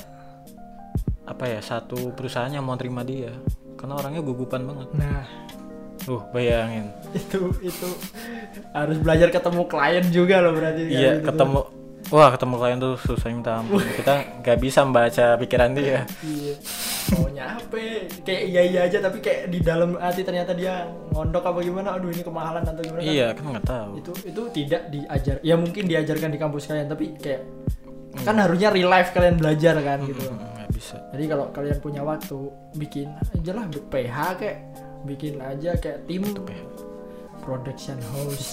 A: apa ya satu perusahaan yang mau terima dia karena orangnya gugupan banget
B: Nah,
A: uh bayangin
B: itu itu harus belajar ketemu klien juga loh berarti.
A: iya
B: Kayak gitu.
A: ketemu wah ketemu klien tuh susah minta ampun kita nggak bisa membaca pikiran dia
B: Iya. Maunya apa? Kayak iya iya aja tapi kayak di dalam hati ternyata dia ngondok apa gimana. Aduh ini kemahalan atau gimana. kan?
A: iya kan nggak tahu
B: Itu itu tidak diajar. Ya mungkin diajarkan di kampus kalian tapi kayak kan harusnya real life kalian belajar kan gitu.
A: Mm, nggak bisa
B: Jadi kalau kalian punya waktu bikin aja lah PH kayak bikin aja kayak tim production house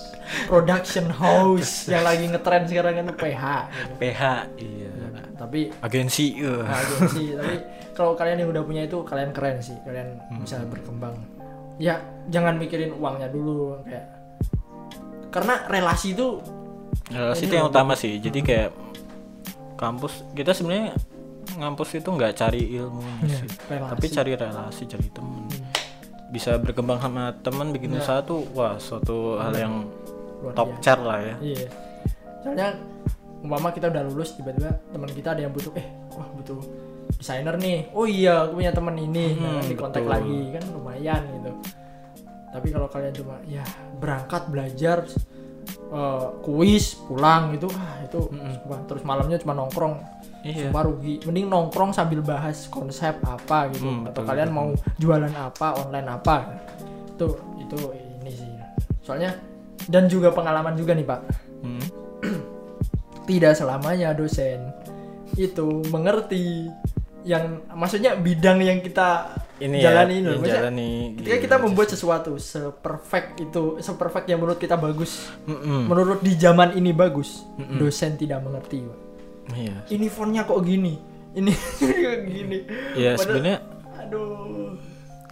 B: production house yang lagi ngetren sekarang kan PH gitu.
A: PH iya
B: tapi
A: agensi eh.
B: agensi Nah, Ah, tapi kalau kalian yang udah punya itu kalian keren sih kalian bisa
A: Hmm.
B: berkembang ya jangan mikirin uangnya dulu kayak karena relasi itu
A: relasi
B: Ini
A: itu Ya, yang
B: loh,
A: utama sih
B: Hmm.
A: jadi kayak kampus kita sebenarnya ngampus itu nggak cari ilmunya
B: Iya,
A: sih
B: relasi. Hmm.
A: tapi cari relasi cari temen bisa berkembang sama temen bikin
B: Iya.
A: usaha tuh wah suatu hal yang
B: luar
A: top
B: biasa.
A: chart lah ya
B: iya soalnya umpama kita udah lulus tiba-tiba teman kita ada yang butuh eh wah butuh desainer nih oh iya aku punya teman ini
A: Hmm,
B: nah, di kontak
A: betul.
B: lagi kan lumayan gitu tapi kalau kalian cuma ya berangkat belajar eh, kuis pulang gitu ah itu
A: Hmm.
B: sumpah. terus malamnya cuma nongkrong
A: iya
B: Sumpah rugi mending nongkrong sambil bahas konsep apa gitu
A: Hmm,
B: atau
A: betul,
B: kalian
A: betul.
B: mau jualan apa online apa itu itu ini sih soalnya dan juga pengalaman juga nih pak
A: Hmm.
B: tidak selamanya dosen itu mengerti yang maksudnya bidang yang kita
A: ini
B: jalani
A: ya
B: loh.
A: yang
B: Maksudnya,
A: jalani
B: ketika
A: gitu.
B: kita membuat sesuatu seperfect itu seperfect yang menurut kita bagus
A: Mm-mm.
B: menurut di zaman ini bagus
A: Mm-mm.
B: dosen tidak mengerti Pak.
A: iya
B: ini fontnya kok gini ini kok gini
A: ya
B: Padahal-
A: sebenarnya
B: aduh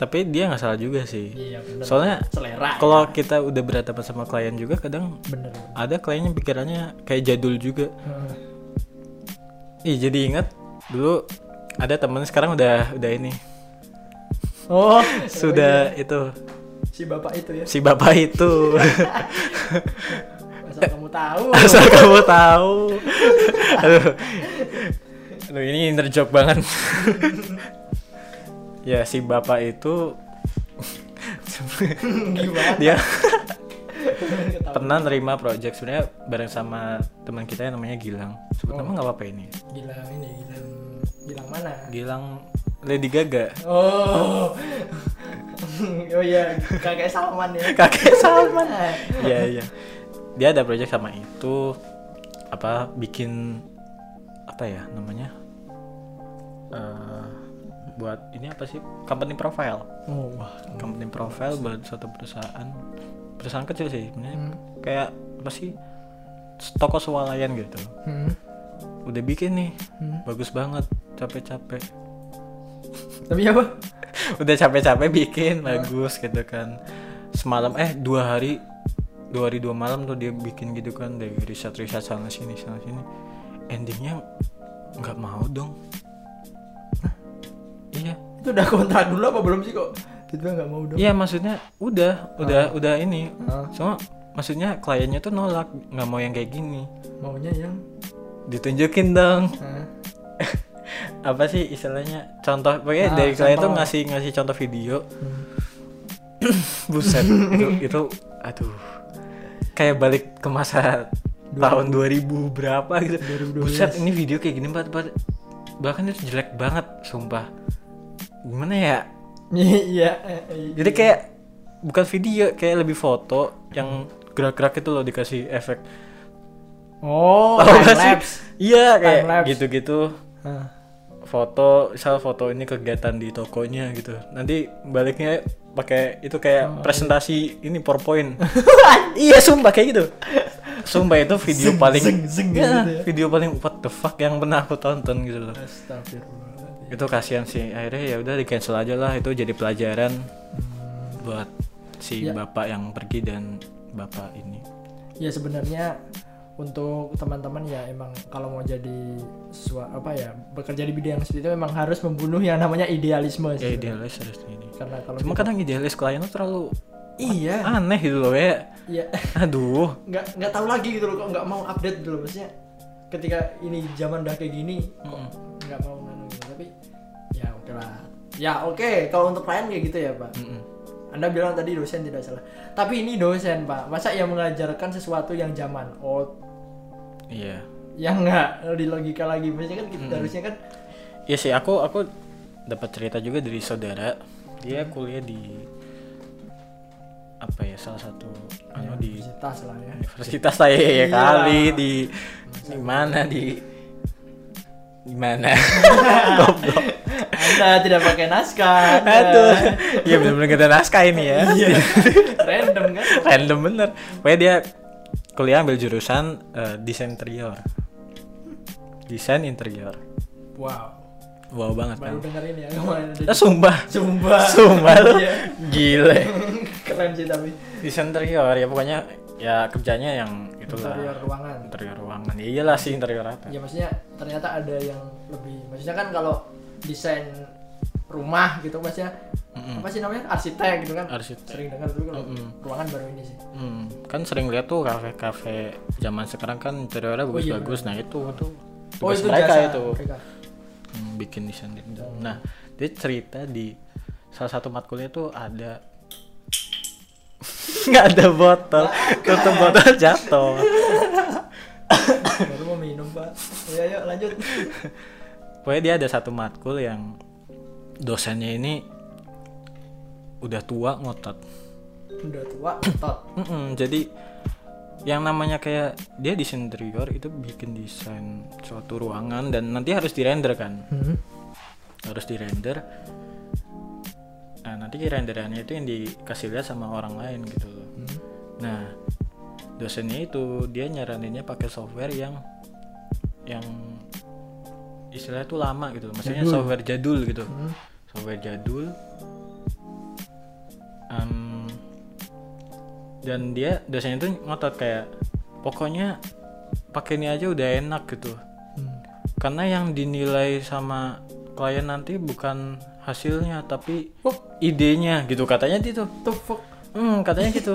A: tapi dia nggak salah juga sih
B: iya bener
A: soalnya
B: selera
A: kalau kita udah berhadapan sama klien juga kadang
B: bener
A: ada kliennya pikirannya kayak jadul juga
B: Heeh.
A: Ih jadi ingat dulu ada temen sekarang udah udah ini
B: oh
A: sudah itu
B: si bapak itu ya
A: si bapak itu
B: asal kamu tahu
A: Eh. asal kamu tahu aduh, aduh ini inner joke banget ya si bapak itu
B: gimana
A: dia
B: Ketawa.
A: pernah nerima project sebenarnya bareng sama teman kita yang namanya Gilang sebut nama nggak apa-apa ini
B: gila ini gila bilang mana
A: Gilang Lady Gaga
B: oh oh iya kakek Salman ya Eh.
A: kakek
B: Salman
A: Iya iya. Dia ada project sama itu apa bikin apa ya namanya? Eh, buat ini apa sih? Company profile.
B: oh wah
A: Company profile buat suatu perusahaan. Perusahaan kecil sih sebenarnya.
B: Hmm.
A: Kayak apa sih? Toko swalayan gitu.
B: Hmm.
A: Udah bikin nih.
B: Hmm.
A: Bagus banget. Capek-capek.
B: tapi apa
A: Udah capek-capek bikin bagus gitu kan. Semalam eh dua hari dua hari dua malam tuh dia bikin gitu kan dari riset riset sana sini sana sini endingnya nggak mau dong iya
B: itu udah kontrak dulu apa belum sih kok tiba nggak mau dong
A: iya maksudnya udah udah udah ini
B: Ah.
A: cuma maksudnya kliennya tuh nolak nggak mau yang kayak gini
B: maunya yang ah.
A: ditunjukin dong
B: Hah?
A: apa sih istilahnya contoh pokoknya
B: Ah,
A: dari klien tuh
B: contoh.
A: ngasih ngasih contoh video
B: Hmm.
A: buset itu, itu aduh kayak balik ke masa tahun 2000 berapa gitu
B: 2012.
A: buset ini video kayak gini Pak, Pak. bahkan itu jelek banget sumpah gimana ya
B: iya
A: jadi kayak bukan video kayak lebih foto yang
B: Hmm.
A: gerak-gerak itu loh dikasih efek
B: oh
A: Tahu Oh, nggak
B: time
A: sih?
B: lapse
A: iya kayak
B: Time lapse.
A: gitu-gitu
B: Hah.
A: foto misal foto ini kegiatan di tokonya gitu nanti baliknya pakai itu
B: Oh.
A: kayak presentasi ini powerpoint iya sumpah kayak gitu sumpah itu video paling
B: zeng, zeng
A: Ya,
B: gitu ya.
A: video paling what the fuck yang pernah aku tonton gitu loh
B: Astagfirullah.
A: itu kasihan sih akhirnya ya udah di cancel aja lah itu jadi pelajaran buat si
B: Hmm. Ya.
A: bapak yang pergi dan bapak ini
B: Ya sebenarnya untuk teman-teman ya emang kalau mau jadi sua, apa ya bekerja di bidang seperti itu memang harus membunuh yang namanya idealisme
A: ya
B: sih.
A: idealis harus ini
B: Karena kalau
A: cuma
B: kita-
A: kadang idealis klien tuh terlalu
B: iya,
A: aneh gitu loh ya
B: iya
A: aduh
B: nggak nggak tahu lagi gitu loh kok nggak mau update dulu maksudnya ketika ini zaman udah kayak gini
A: Mm-mm.
B: kok nggak mau nganu gitu tapi ya oke lah ya oke kalau untuk klien kayak gitu ya pak
A: Mm-mm.
B: anda bilang tadi dosen tidak salah tapi ini dosen pak masa yang mengajarkan sesuatu yang zaman old
A: Iya.
B: yang nggak di logika lagi maksudnya kan kita harusnya kan
A: Iya sih, aku aku dapat cerita juga dari saudara. Dia
B: Hmm.
A: kuliah di apa ya salah satu anu di
B: universitas lah ya
A: universitas saya ya
B: Iya.
A: kali di di mana di di mana goblok
B: anda tidak pakai naskah Anda
A: aduh iya bener-bener kita naskah ini ya
B: Iya. random kan
A: random bener pokoknya dia kuliah ambil jurusan eh, desain interior desain interior
B: wow
A: wow banget kan
B: baru dengar ini ya kemarin ada
A: ah, sumpah
B: Sumpah.
A: sumpah lu
B: Iya.
A: gile
B: keren sih tapi
A: desain interior ya pokoknya ya kerjanya yang itulah
B: interior ruangan
A: interior ruangan ya iyalah sih interior apa
B: ya maksudnya ternyata ada yang lebih maksudnya kan kalau desain rumah gitu maksudnya
A: Mm-mm.
B: apa sih namanya arsitek Hmm. gitu kan
A: Arsitek.
B: sering dengar tapi kalau
A: Mm-mm.
B: ruangan baru ini sih
A: Hmm, kan sering lihat tuh kafe-kafe zaman sekarang kan interiornya
B: Oh, iya,
A: bagus-bagus. nah itu tuh
B: oh
A: tugas
B: itu
A: mereka
B: jasa
A: itu
B: mereka.
A: Hmm, bikin desain interior. Nah, dia cerita di salah satu matkulnya tuh ada nggak ada botol, tutup botol jatuh.
B: baru mau minum pak ya yuk lanjut
A: Pokoknya dia ada satu matkul yang dosennya ini udah tua ngotot.
B: udah tua tot
A: Mm-mm, jadi yang namanya kayak dia desain interior itu bikin desain suatu ruangan dan nanti harus dirender kan harus dirender nah nanti renderannya itu yang dikasih lihat sama orang lain gitu loh
B: Hmm.
A: nah dosennya itu dia nyaraninnya pakai software yang yang istilahnya tuh lama gitu loh. maksudnya
B: Jadul.
A: software jadul gitu
B: Hmm.
A: software jadul Em, dan dia dosennya tuh ngotot kayak pokoknya pakai ini aja udah enak gitu
B: Hmm.
A: karena yang dinilai sama klien nanti bukan hasilnya tapi
B: Oh.
A: idenya gitu katanya gitu
B: the fuck
A: hmm, katanya gitu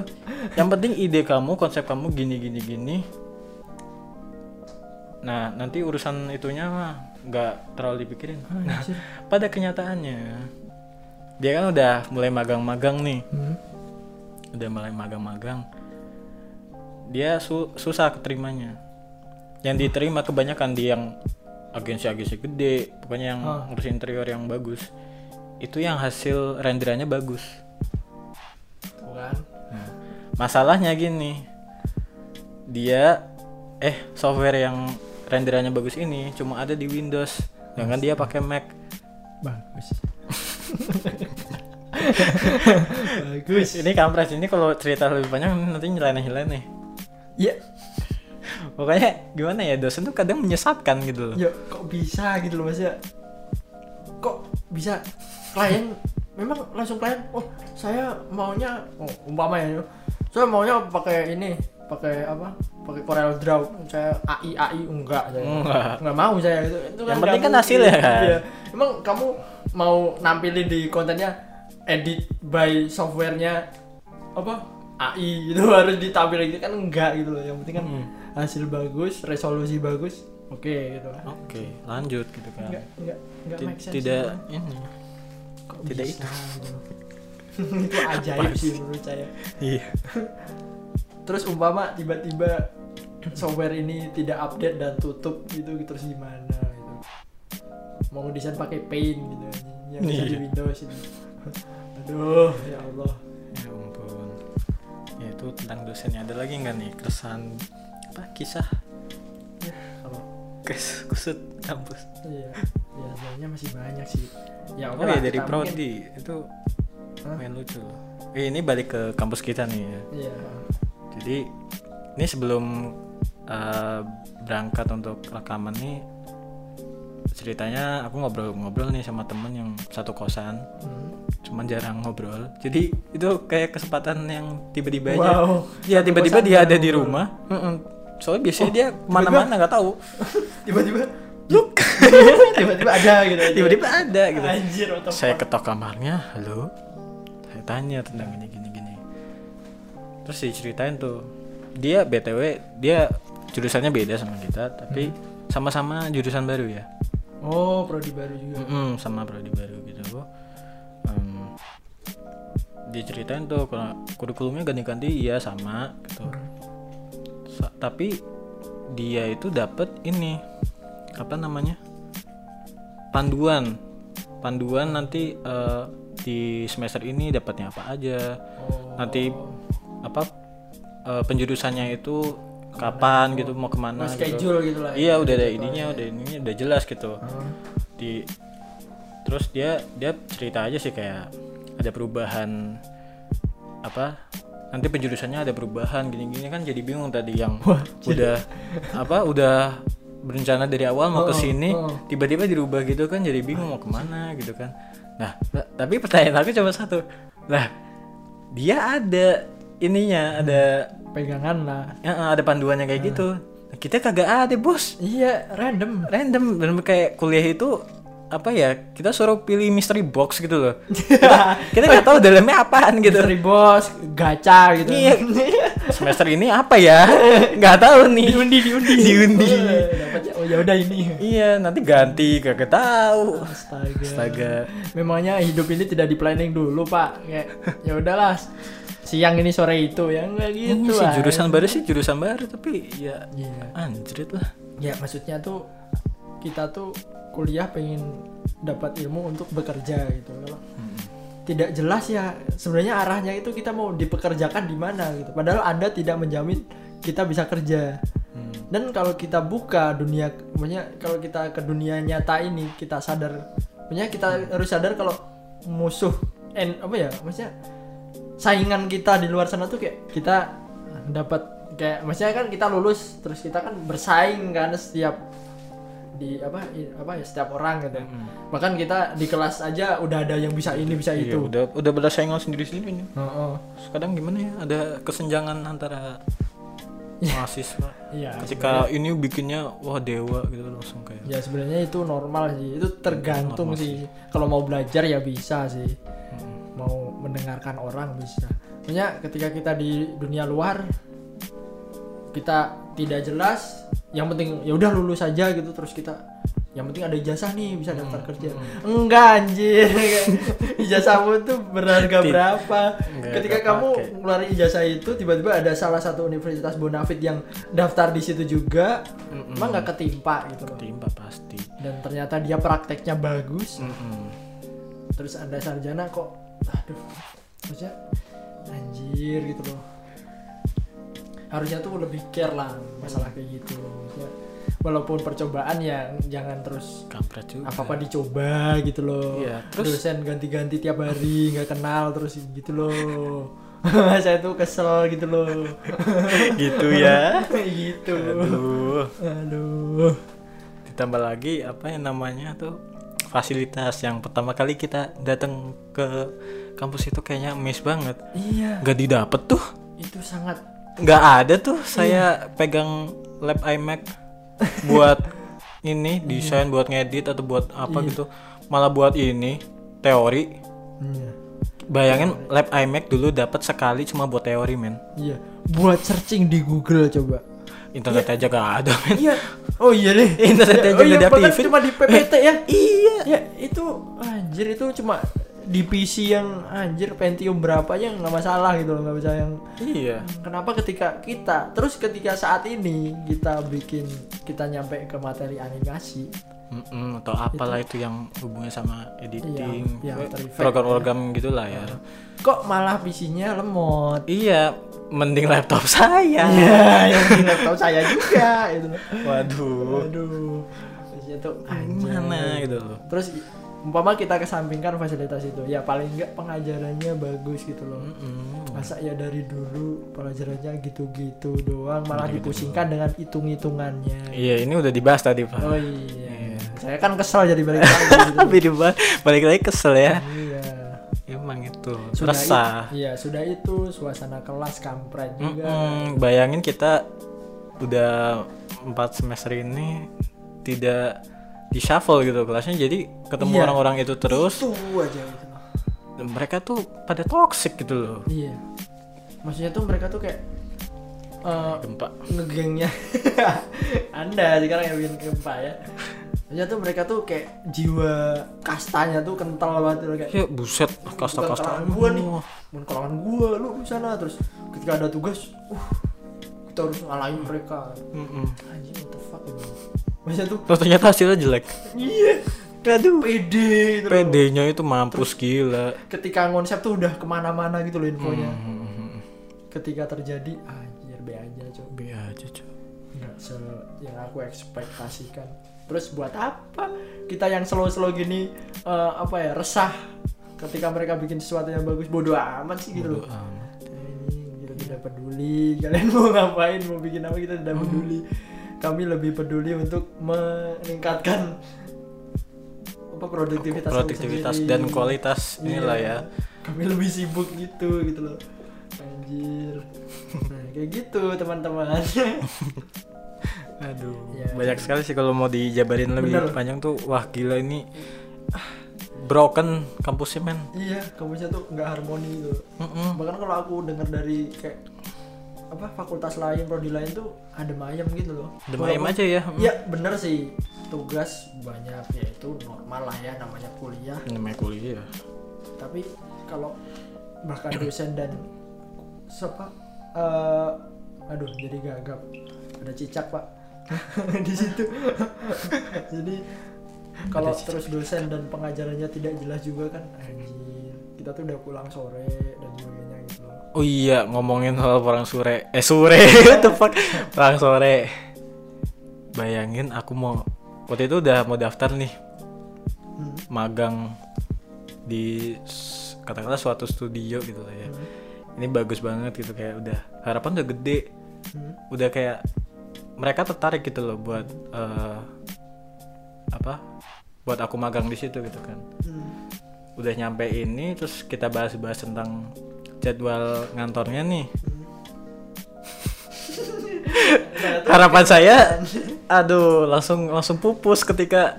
A: yang penting ide kamu konsep kamu gini gini gini nah nanti urusan itunya mah nggak terlalu dipikirin nah
B: Anjir.
A: pada kenyataannya dia kan udah mulai magang-magang nih
B: Hmm.
A: udah mulai magang-magang dia su- susah keterimanya yang diterima kebanyakan di yang agensi-agensi gede pokoknya yang
B: Ah.
A: ngurus interior yang bagus itu yang hasil renderannya bagus
B: Tuh kan
A: Nah, masalahnya gini dia eh software yang renderannya bagus ini cuma ada di Windows sedangkan dia pakai Mac
B: bagus bagus
A: ini kampres ini kalau cerita lebih panjang nanti nyeleneh-nyeleneh
B: ya
A: pokoknya gimana ya dosen tuh kadang menyesatkan gitu loh
B: ya kok bisa gitu loh maksudnya kok bisa klien memang langsung klien oh saya maunya oh umpama ya saya maunya pakai ini pakai apa pakai Corel Draw saya AI AI enggak saya
A: Enggak.
B: enggak mau saya gitu itu
A: Yang
B: nggak
A: penting kan
B: mungkin.
A: hasilnya kan.
B: Iya. emang kamu mau nampilin di kontennya edit by softwarenya apa AI gitu harus ditampilin gitu kan enggak gitu loh yang penting kan
A: Hmm.
B: hasil bagus resolusi bagus oke gitu lah
A: Oke, lanjut gitu kan.
B: Enggak, enggak, enggak
A: Oh. Ti-
B: make sense.
A: tidak
B: gitu.
A: ini.
B: Kok
A: tidak
B: bisa gitu? itu ajaib sih menurut saya.
A: Iya.
B: Terus umpama tiba-tiba software ini tidak update dan tutup gitu terus gimana gitu. Mau desain pakai Paint gitu anjing, yang bisa di
A: Iya.
B: Windows ini. Aduh, ya Allah.
A: Ya ampun. Ya itu tentang dosennya ada lagi nggak nih keresahan apa kisah
B: Ya, Kalau
A: kes kusut kampus.
B: iya, ya sebenarnya masih banyak sih. Ya
A: Oh
B: oke lah,
A: iya dari
B: kita mungkin-
A: prodi itu
B: Hah?
A: main lucu loh. Eh, ini balik ke kampus kita nih ya.
B: Iya.
A: Jadi ini sebelum eh, berangkat untuk rekaman nih ceritanya aku ngobrol-ngobrol nih sama temen yang satu kosan
B: Hmm.
A: cuman jarang ngobrol jadi itu kayak kesempatan yang tiba-tiba aja
B: Wow.
A: ya
B: Satu
A: tiba-tiba
B: kosan
A: dia
B: jarang
A: ada di
B: ngobrol. Oh,
A: rumah Mm-mm. soalnya biasanya dia kemana-mana nggak tahu
B: Iya. Tiba-tiba look. tiba-tiba ada gitu. aja.
A: tiba-tiba ada gitu
B: Anjir, what the
A: saya
B: fuck?
A: ketok kamarnya halo saya tanya tentang gini gini gini terus diceritain tuh dia btw dia jurusannya beda sama kita tapi
B: Hmm.
A: sama-sama jurusan baru ya
B: Oh, prodi baru juga.
A: Mm-mm, sama prodi baru gitu Em, diceritain tuh kalau kurikulumnya ganti-ganti iya sama gitu Sa- tapi dia itu dapat ini apa namanya panduan panduan nanti eh, di semester ini dapatnya apa aja nanti apa eh, penjurusannya itu kapan gitu mau kemana
B: Nah,
A: gitu.
B: schedule gitu lah.
A: Iya udah ada ininya, udah ininya udah jelas gitu. Di terus dia dia cerita aja sih kayak ada perubahan apa nanti penjurusannya ada perubahan gini-gini kan jadi bingung tadi yang udah apa udah berencana dari awal mau ke sini tiba-tiba dirubah gitu kan jadi bingung mau kemana gitu kan nah ta- tapi pertanyaan aku cuma satu lah dia ada ininya ada
B: Pegangan lah.
A: ya, ada panduannya kayak gitu Nah, kita kagak ada bos
B: Iya, random.
A: random bener kayak kuliah itu apa ya kita suruh pilih mystery box gitu loh kita kita nggak tahu dalamnya apaan gitu
B: Dari bos, gacha gitu.
A: Iya. semester ini apa ya nggak tahu nih diundi diundi diundi
B: Eh, dapatnya, Oh, ya udah ini.
A: iya nanti ganti kagak tahu
B: Astaga.
A: astaga
B: Memangnya hidup ini tidak di planning dulu, Pak. Kayak ya udahlah. Siang ini sore itu ya enggak
A: Oh, ini
B: gitu.
A: sih
B: lah.
A: jurusan baru sih jurusan baru tapi ya
B: Iya.
A: anjrit lah
B: Ya, maksudnya tuh kita tuh kuliah pengen dapat ilmu untuk bekerja gitu. Kalau tidak jelas ya sebenarnya arahnya itu kita mau dipekerjakan di mana gitu. Padahal Anda tidak menjamin kita bisa kerja. Dan kalau kita buka dunia, maksudnya kalau kita ke dunia nyata ini kita sadar, maksudnya kita harus sadar kalau musuh and apa ya, maksudnya saingan kita di luar sana tuh kayak kita dapat kayak maksudnya kan kita lulus terus kita kan bersaing kan setiap di apa i- apa ya setiap orang gitu. Bahkan kita di kelas aja udah ada yang bisa ini bisa
A: Hmm. Iya,
B: Ya, itu.
A: udah udah pada saingan sendiri sendiri nih
B: Heeh.
A: Terus kadang gimana ya ada kesenjangan antara mahasiswa
B: Iya.
A: ketika ini bikinnya wah dewa gitu langsung kayak
B: Ya sebenarnya itu normal sih. Itu tergantung sih. Kalau mau belajar ya bisa sih. Mau mendengarkan orang bisa. Maksudnya ketika kita di dunia luar kita tidak jelas, yang penting ya udah lulus aja gitu terus kita yang penting ada ijazah nih bisa daftar kerja. Enggak anjir. Ijazahmu tuh berharga
A: Tid-
B: berapa?
A: Enggak
B: Ketika
A: kepake.
B: kamu ngeluarin ijazah itu tiba-tiba ada salah satu universitas bonafit yang daftar di situ juga,
A: Hmm.
B: emang nggak ketimpa gitu loh
A: timpa pasti
B: dan ternyata dia prakteknya bagus
A: Mm-mm.
B: terus anda sarjana kok aduh maksudnya anjir gitu loh harusnya tuh lebih care lah masalah kayak gitu Maksudnya, walaupun percobaan ya jangan terus
A: kampret juga
B: apa apa dicoba gitu loh
A: Iya, terus-
B: dosen ganti-ganti tiap hari nggak kenal terus gitu loh saya tuh kesel gitu loh
A: gitu ya
B: Kayak gitu
A: aduh
B: aduh
A: ditambah lagi apa yang namanya tuh fasilitas yang pertama kali kita datang ke kampus itu kayaknya miss banget
B: iya
A: nggak didapet tuh
B: itu sangat
A: nggak ada tuh
B: Iya.
A: saya pegang lab iMac buat ini
B: Iya.
A: desain buat ngedit atau buat apa gitu malah buat ini teori
B: iya
A: bayangin lab iMac dulu dapat sekali cuma buat teori men
B: Iya, buat searching di Google coba.
A: internet aja gak ada men
B: Iya. Oh iya deh.
A: Internet aja
B: oh, iya,
A: nggak
B: bahkan
A: diaktifin.
B: cuma di PPT ya.
A: iya
B: ya itu anjir itu cuma di PC yang anjir Pentium berapa aja nggak masalah gitu loh nggak bisa yang
A: iya
B: kenapa ketika kita terus ketika saat ini kita bikin kita nyampe ke materi animasi
A: Mm-mm, atau apalah itu, yang hubungannya sama editing, eh,
B: Iya, iya, After Effect,
A: program-program gitulah
B: Iya.
A: ya.
B: kok malah PC-nya lemot
A: Iya, mending laptop saya.
B: ya yang di laptop saya juga gitu itu
A: Iya, Waduh,
B: aduh Maksudnya tuh anjir
A: gimana gitu loh.
B: terus i- umpama kita kesampingkan fasilitas itu ya paling enggak pengajarannya bagus gitu loh
A: Hmm. Mm-mm.
B: masa ya dari dulu pelajarannya gitu-gitu doang malah dipusingkan dengan hitung-hitungannya
A: Iya, ini udah dibahas tadi pak.
B: oh iya saya kan kesel jadi balik lagi gitu.
A: Tapi dibahas, balik lagi kesel ya.
B: iya
A: Emang itu
B: sudah itu,
A: resah.
B: iya sudah itu suasana kelas kampret juga
A: Mm-mm, Bayangin kita udah empat semester ini tidak di shuffle gitu kelasnya, jadi ketemu
B: Iya.
A: orang-orang itu terus.
B: tuh aja gitu loh.
A: dan Mereka tuh pada toxic gitu loh.
B: iya maksudnya tuh mereka tuh kayak eh,
A: gempa
B: ngegengnya Anda sekarang yang bikin gempa ya. Maksudnya tuh mereka tuh kayak jiwa kastanya tuh kental banget tuh kayak
A: ya buset kasta
B: bukan
A: kasta
B: kalangan gua nih, bukan kalangan gua lu di sana terus ketika ada tugas, uh, kita harus ngalahin mereka. Anjing what the fuck ini. Maksudnya tuh
A: terus ternyata hasilnya jelek
B: iya, aduh pede terus.
A: PD-nya itu mampus gila
B: Ketika konsep tuh udah kemana-mana gitu loh infonya.
A: Hmm,
B: Ketika terjadi anjir be aja coba.
A: be aja cuy
B: nggak se yang aku ekspektasikan terus buat apa kita yang slow-slow gini eh, apa ya resah ketika mereka bikin sesuatu yang bagus bodoh amat sih gitu loh
A: Bodo amat.
B: Ini kita tidak peduli kalian mau ngapain mau bikin apa kita
A: Hmm.
B: tidak peduli kami lebih peduli untuk meningkatkan apa produktivitas kami
A: produktivitas
B: sendiri.
A: dan kualitas inilah
B: Iya.
A: ya
B: kami lebih sibuk gitu gitu loh anjir nah, kayak gitu teman-teman
A: Ya, aduh
B: Iya.
A: banyak sekali sih kalau mau dijabarin lebih
B: Bener.
A: panjang tuh wah gila ini ah, broken kampusnya men
B: Iya, kampusnya tuh nggak harmoni gitu.
A: Mm-mm.
B: Bahkan kalau aku dengar dari kayak apa fakultas lain, prodi lain tuh adem ayem gitu loh.
A: Adem ayem
B: Walaupun-
A: aja ya.
B: Iya, bener sih. Tugas banyak ya itu normal lah ya namanya kuliah.
A: namanya kuliah ya?
B: Tapi kalau bahkan dosen dan siapa eh aduh jadi gagap. Ada cicak, Pak. di situ. jadi kalau
A: Ada cicak.
B: terus dosen dan pengajarannya tidak jelas juga kan anjir kita tuh udah pulang sore dan sebagainya gitu loh
A: Oh iya, ngomongin soal perang sore. Eh sore, tepat perang sore. Bayangin aku mau waktu itu udah mau daftar nih
B: Hmm.
A: magang di s- katakanlah suatu studio gitu lah ya. Ini bagus banget gitu kayak udah harapan udah gede,
B: Hmm.
A: udah kayak mereka tertarik gitu loh buat eh, apa? Buat aku magang di situ gitu kan.
B: Hmm.
A: Udah nyampe ini terus kita bahas-bahas tentang jadwal ngantornya nih. harapan saya aduh langsung langsung pupus ketika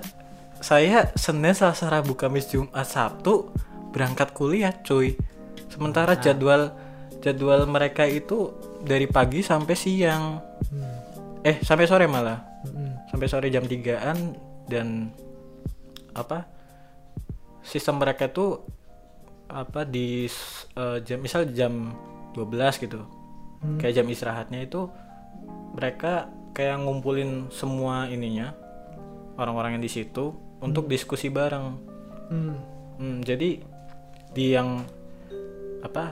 A: saya Senin Selasa Rabu Kamis Jumat Sabtu berangkat kuliah cuy sementara
B: Ah.
A: jadwal jadwal mereka itu dari pagi sampai siang
B: Hmm.
A: eh sampai sore malah
B: Hmm.
A: sampai sore jam 3-an dan apa sistem mereka tuh apa di s- eh, jam misal jam 12 gitu
B: Hmm.
A: kayak jam istirahatnya itu mereka kayak ngumpulin semua ininya orang-orang yang di situ untuk diskusi bareng
B: Hmm.
A: Hmm, jadi di yang apa?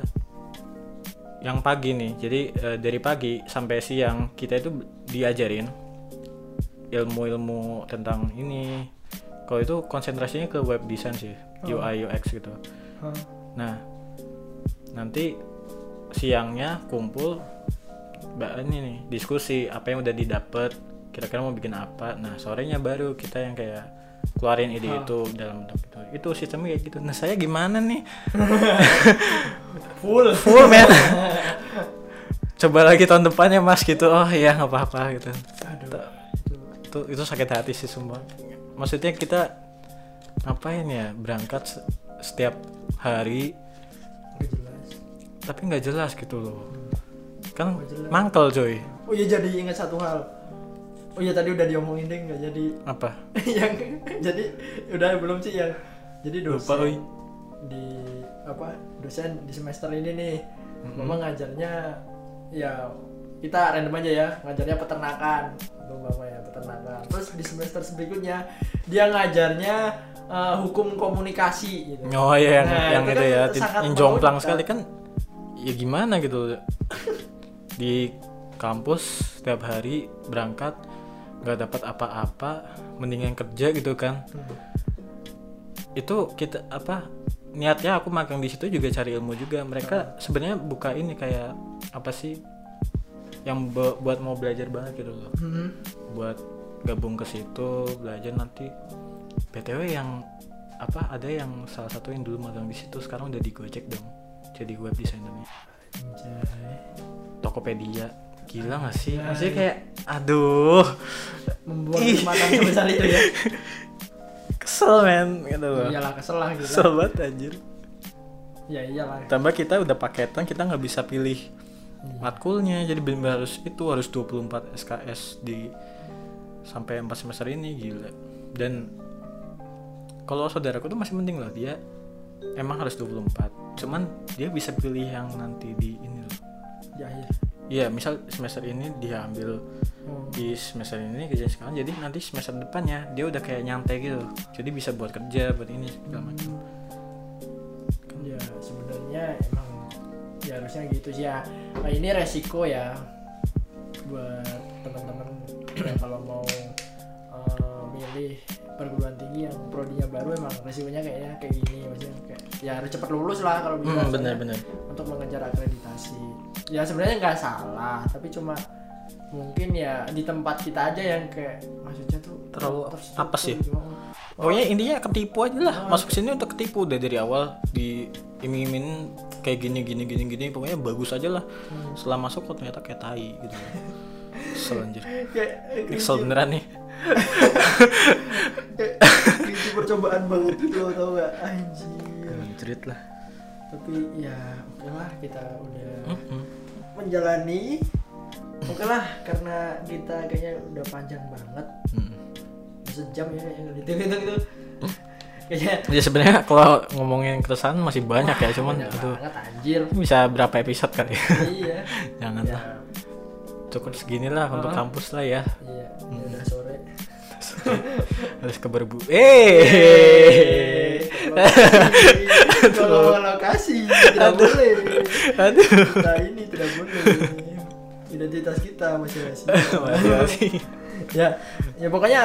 A: Yang pagi nih. Jadi eh, dari pagi sampai siang kita itu diajarin ilmu-ilmu tentang ini. Kalau itu konsentrasinya ke web design sih, UI UX gitu.
B: Hah.
A: Nah, nanti siangnya kumpul ba- ini nih diskusi apa yang udah didapat, kira-kira mau bikin apa. Nah, sorenya baru kita yang kayak keluarin ide
B: Ah.
A: itu dalam bentuk itu. Itu sistemnya kayak gitu. Nah, saya gimana nih?
B: full
A: Full men. Coba lagi tahun depannya Mas gitu. Oh iya, nggak apa-apa gitu.
B: aduh
A: Ta-
B: itu
A: Itu itu sakit hati sih semua. Maksudnya kita ngapain ya berangkat se- setiap hari
B: nggak jelas
A: tapi nggak jelas gitu loh kan
B: Nggak jelas.
A: mangkel coy
B: oh iya jadi ingat satu hal oh iya tadi udah diomongin deh nggak jadi
A: apa
B: yang jadi udah belum sih yang jadi dosen
A: Lupa, oi.
B: di apa dosen di semester ini nih memang ngajarnya ya kita random aja ya ngajarnya peternakan Tuh bapak ya peternakan terus di semester berikutnya dia ngajarnya eh, hukum komunikasi gitu.
A: oh iya yang
B: Nah,
A: yang
B: itu
A: itu,
B: kan
A: ya
B: sangat
A: yang jomplang
B: merugikan.
A: sekali kan ya gimana gitu di kampus setiap hari berangkat nggak dapat apa-apa mendingan kerja gitu kan
B: Mm-hmm.
A: itu kita apa niatnya aku magang di situ juga cari ilmu juga mereka sebenarnya buka ini kayak apa sih yang be- buat mau belajar banget gitu loh
B: Hmm.
A: buat gabung ke situ belajar nanti btw yang apa ada yang salah satu yang dulu magang di situ sekarang udah di Gojek dong jadi web designernya
B: Anjay.
A: Tokopedia gila gak sih maksudnya kayak aduh
B: membuang
A: Ih.
B: kesempatan sebesar itu ya
A: kesel men gitu loh
B: iyalah kesel lah gitu
A: kesel banget anjir
B: ya iyalah
A: tambah kita udah paketan kita nggak bisa pilih matkulnya jadi benar harus itu harus 24 SKS di sampai 4 semester ini gila dan kalau saudaraku tuh masih penting loh dia emang harus 24 cuman dia bisa pilih yang nanti di ini loh
B: di akhir.
A: iya misal semester ini dia ambil
B: ya. Oh.
A: di semester ini kerja sekarang jadi nanti semester depannya dia udah kayak nyantai gitu jadi bisa buat kerja buat ini segala macam
B: Ya sebenarnya emang ya harusnya gitu sih ya. Nah, ini resiko ya buat teman-teman yang kalau mau eh, milih perguruan tinggi yang prodinya baru emang resikonya kayaknya kayak gini maksudnya kayak ya harus cepat lulus lah kalau bisa
A: hmm,
B: soalnya
A: bener-bener
B: untuk mengejar akreditasi. Ya sebenarnya nggak salah tapi cuma mungkin ya di tempat kita aja yang kayak maksudnya tuh
A: Terlalu ya?
B: terstruktur gitu.
A: apa sih?
B: gimana.
A: pokoknya intinya ketipu aja lah masuk sini untuk ketipu udah dari awal di iming-iming kayak gini gini gini gini pokoknya bagus aja lah setelah masuk kok ternyata kayak tai gitu Kesel anjir
B: Kayak
A: Kesel beneran nih
B: Kayak itu percobaan banget gitu loh tau gak anjir
A: Anjrit lah
B: tapi ya oke lah kita udah
A: Mm-mm.
B: menjalani oke lah karena kita kayaknya udah panjang banget
A: Mm-mm.
B: sejam ya yang gitu gitu gitu
A: Hmm?
B: kayaknya
A: ya sebenarnya kalau ngomongin keresahan masih banyak ya cuman
B: banyak
A: aduh
B: banget anjir
A: bisa berapa episode kali ya?
B: iya
A: jangan
B: ya,
A: lah cukup seginilah untuk
B: Ah.
A: kampus lah ya
B: iya ya udah sore
A: harus keberbu eh
B: kalau lokasi tidak boleh
A: aduh
B: kita ini tidak boleh identitas kita masih rahasia
A: Masih-masih.
B: ya ya pokoknya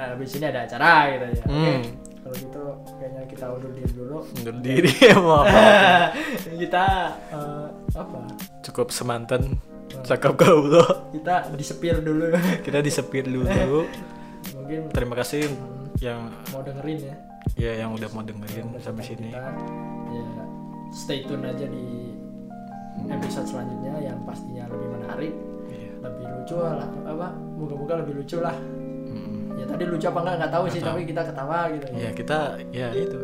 B: eh, habis ini ada acara gitu ya oke
A: Hmm.
B: kalau gitu kayaknya kita undur diri dulu
A: mundur diri mau apa
B: kita eh, apa
A: cukup semantan cakap gaul
B: kita disepir dulu
A: kita disepir dulu
B: mungkin
A: terima kasih yang
B: mau dengerin ya
A: ya yang udah mau dengerin sampai sini
B: kita ya stay tune aja di episode selanjutnya yang pastinya lebih menarik
A: Iya.
B: lebih lucu lah apa moga-moga lebih lucu lah
A: Mm-mm.
B: ya tadi lucu apa enggak nggak tahu sih tapi kita ketawa gitu
A: ya kita ya itu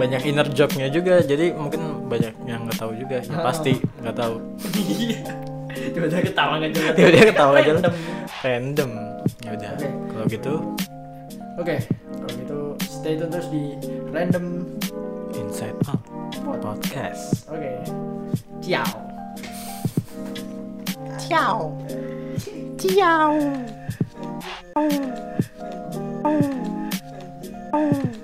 A: banyak inner joke-nya juga jadi mungkin banyak yang nggak tahu juga ya pasti nggak tahu
B: Iya. Tiba-tiba ketawa nggak jelas.
A: Tiba-tiba ketawa nggak jelas.
B: Random.
A: random ya udah
B: Oke.
A: kalau gitu
B: Oke, kalau gitu stay tune terus di random.
A: inside out podcast
B: Oke. Ciao.
D: Ciao. Ciao. Oh. Oh. Oh.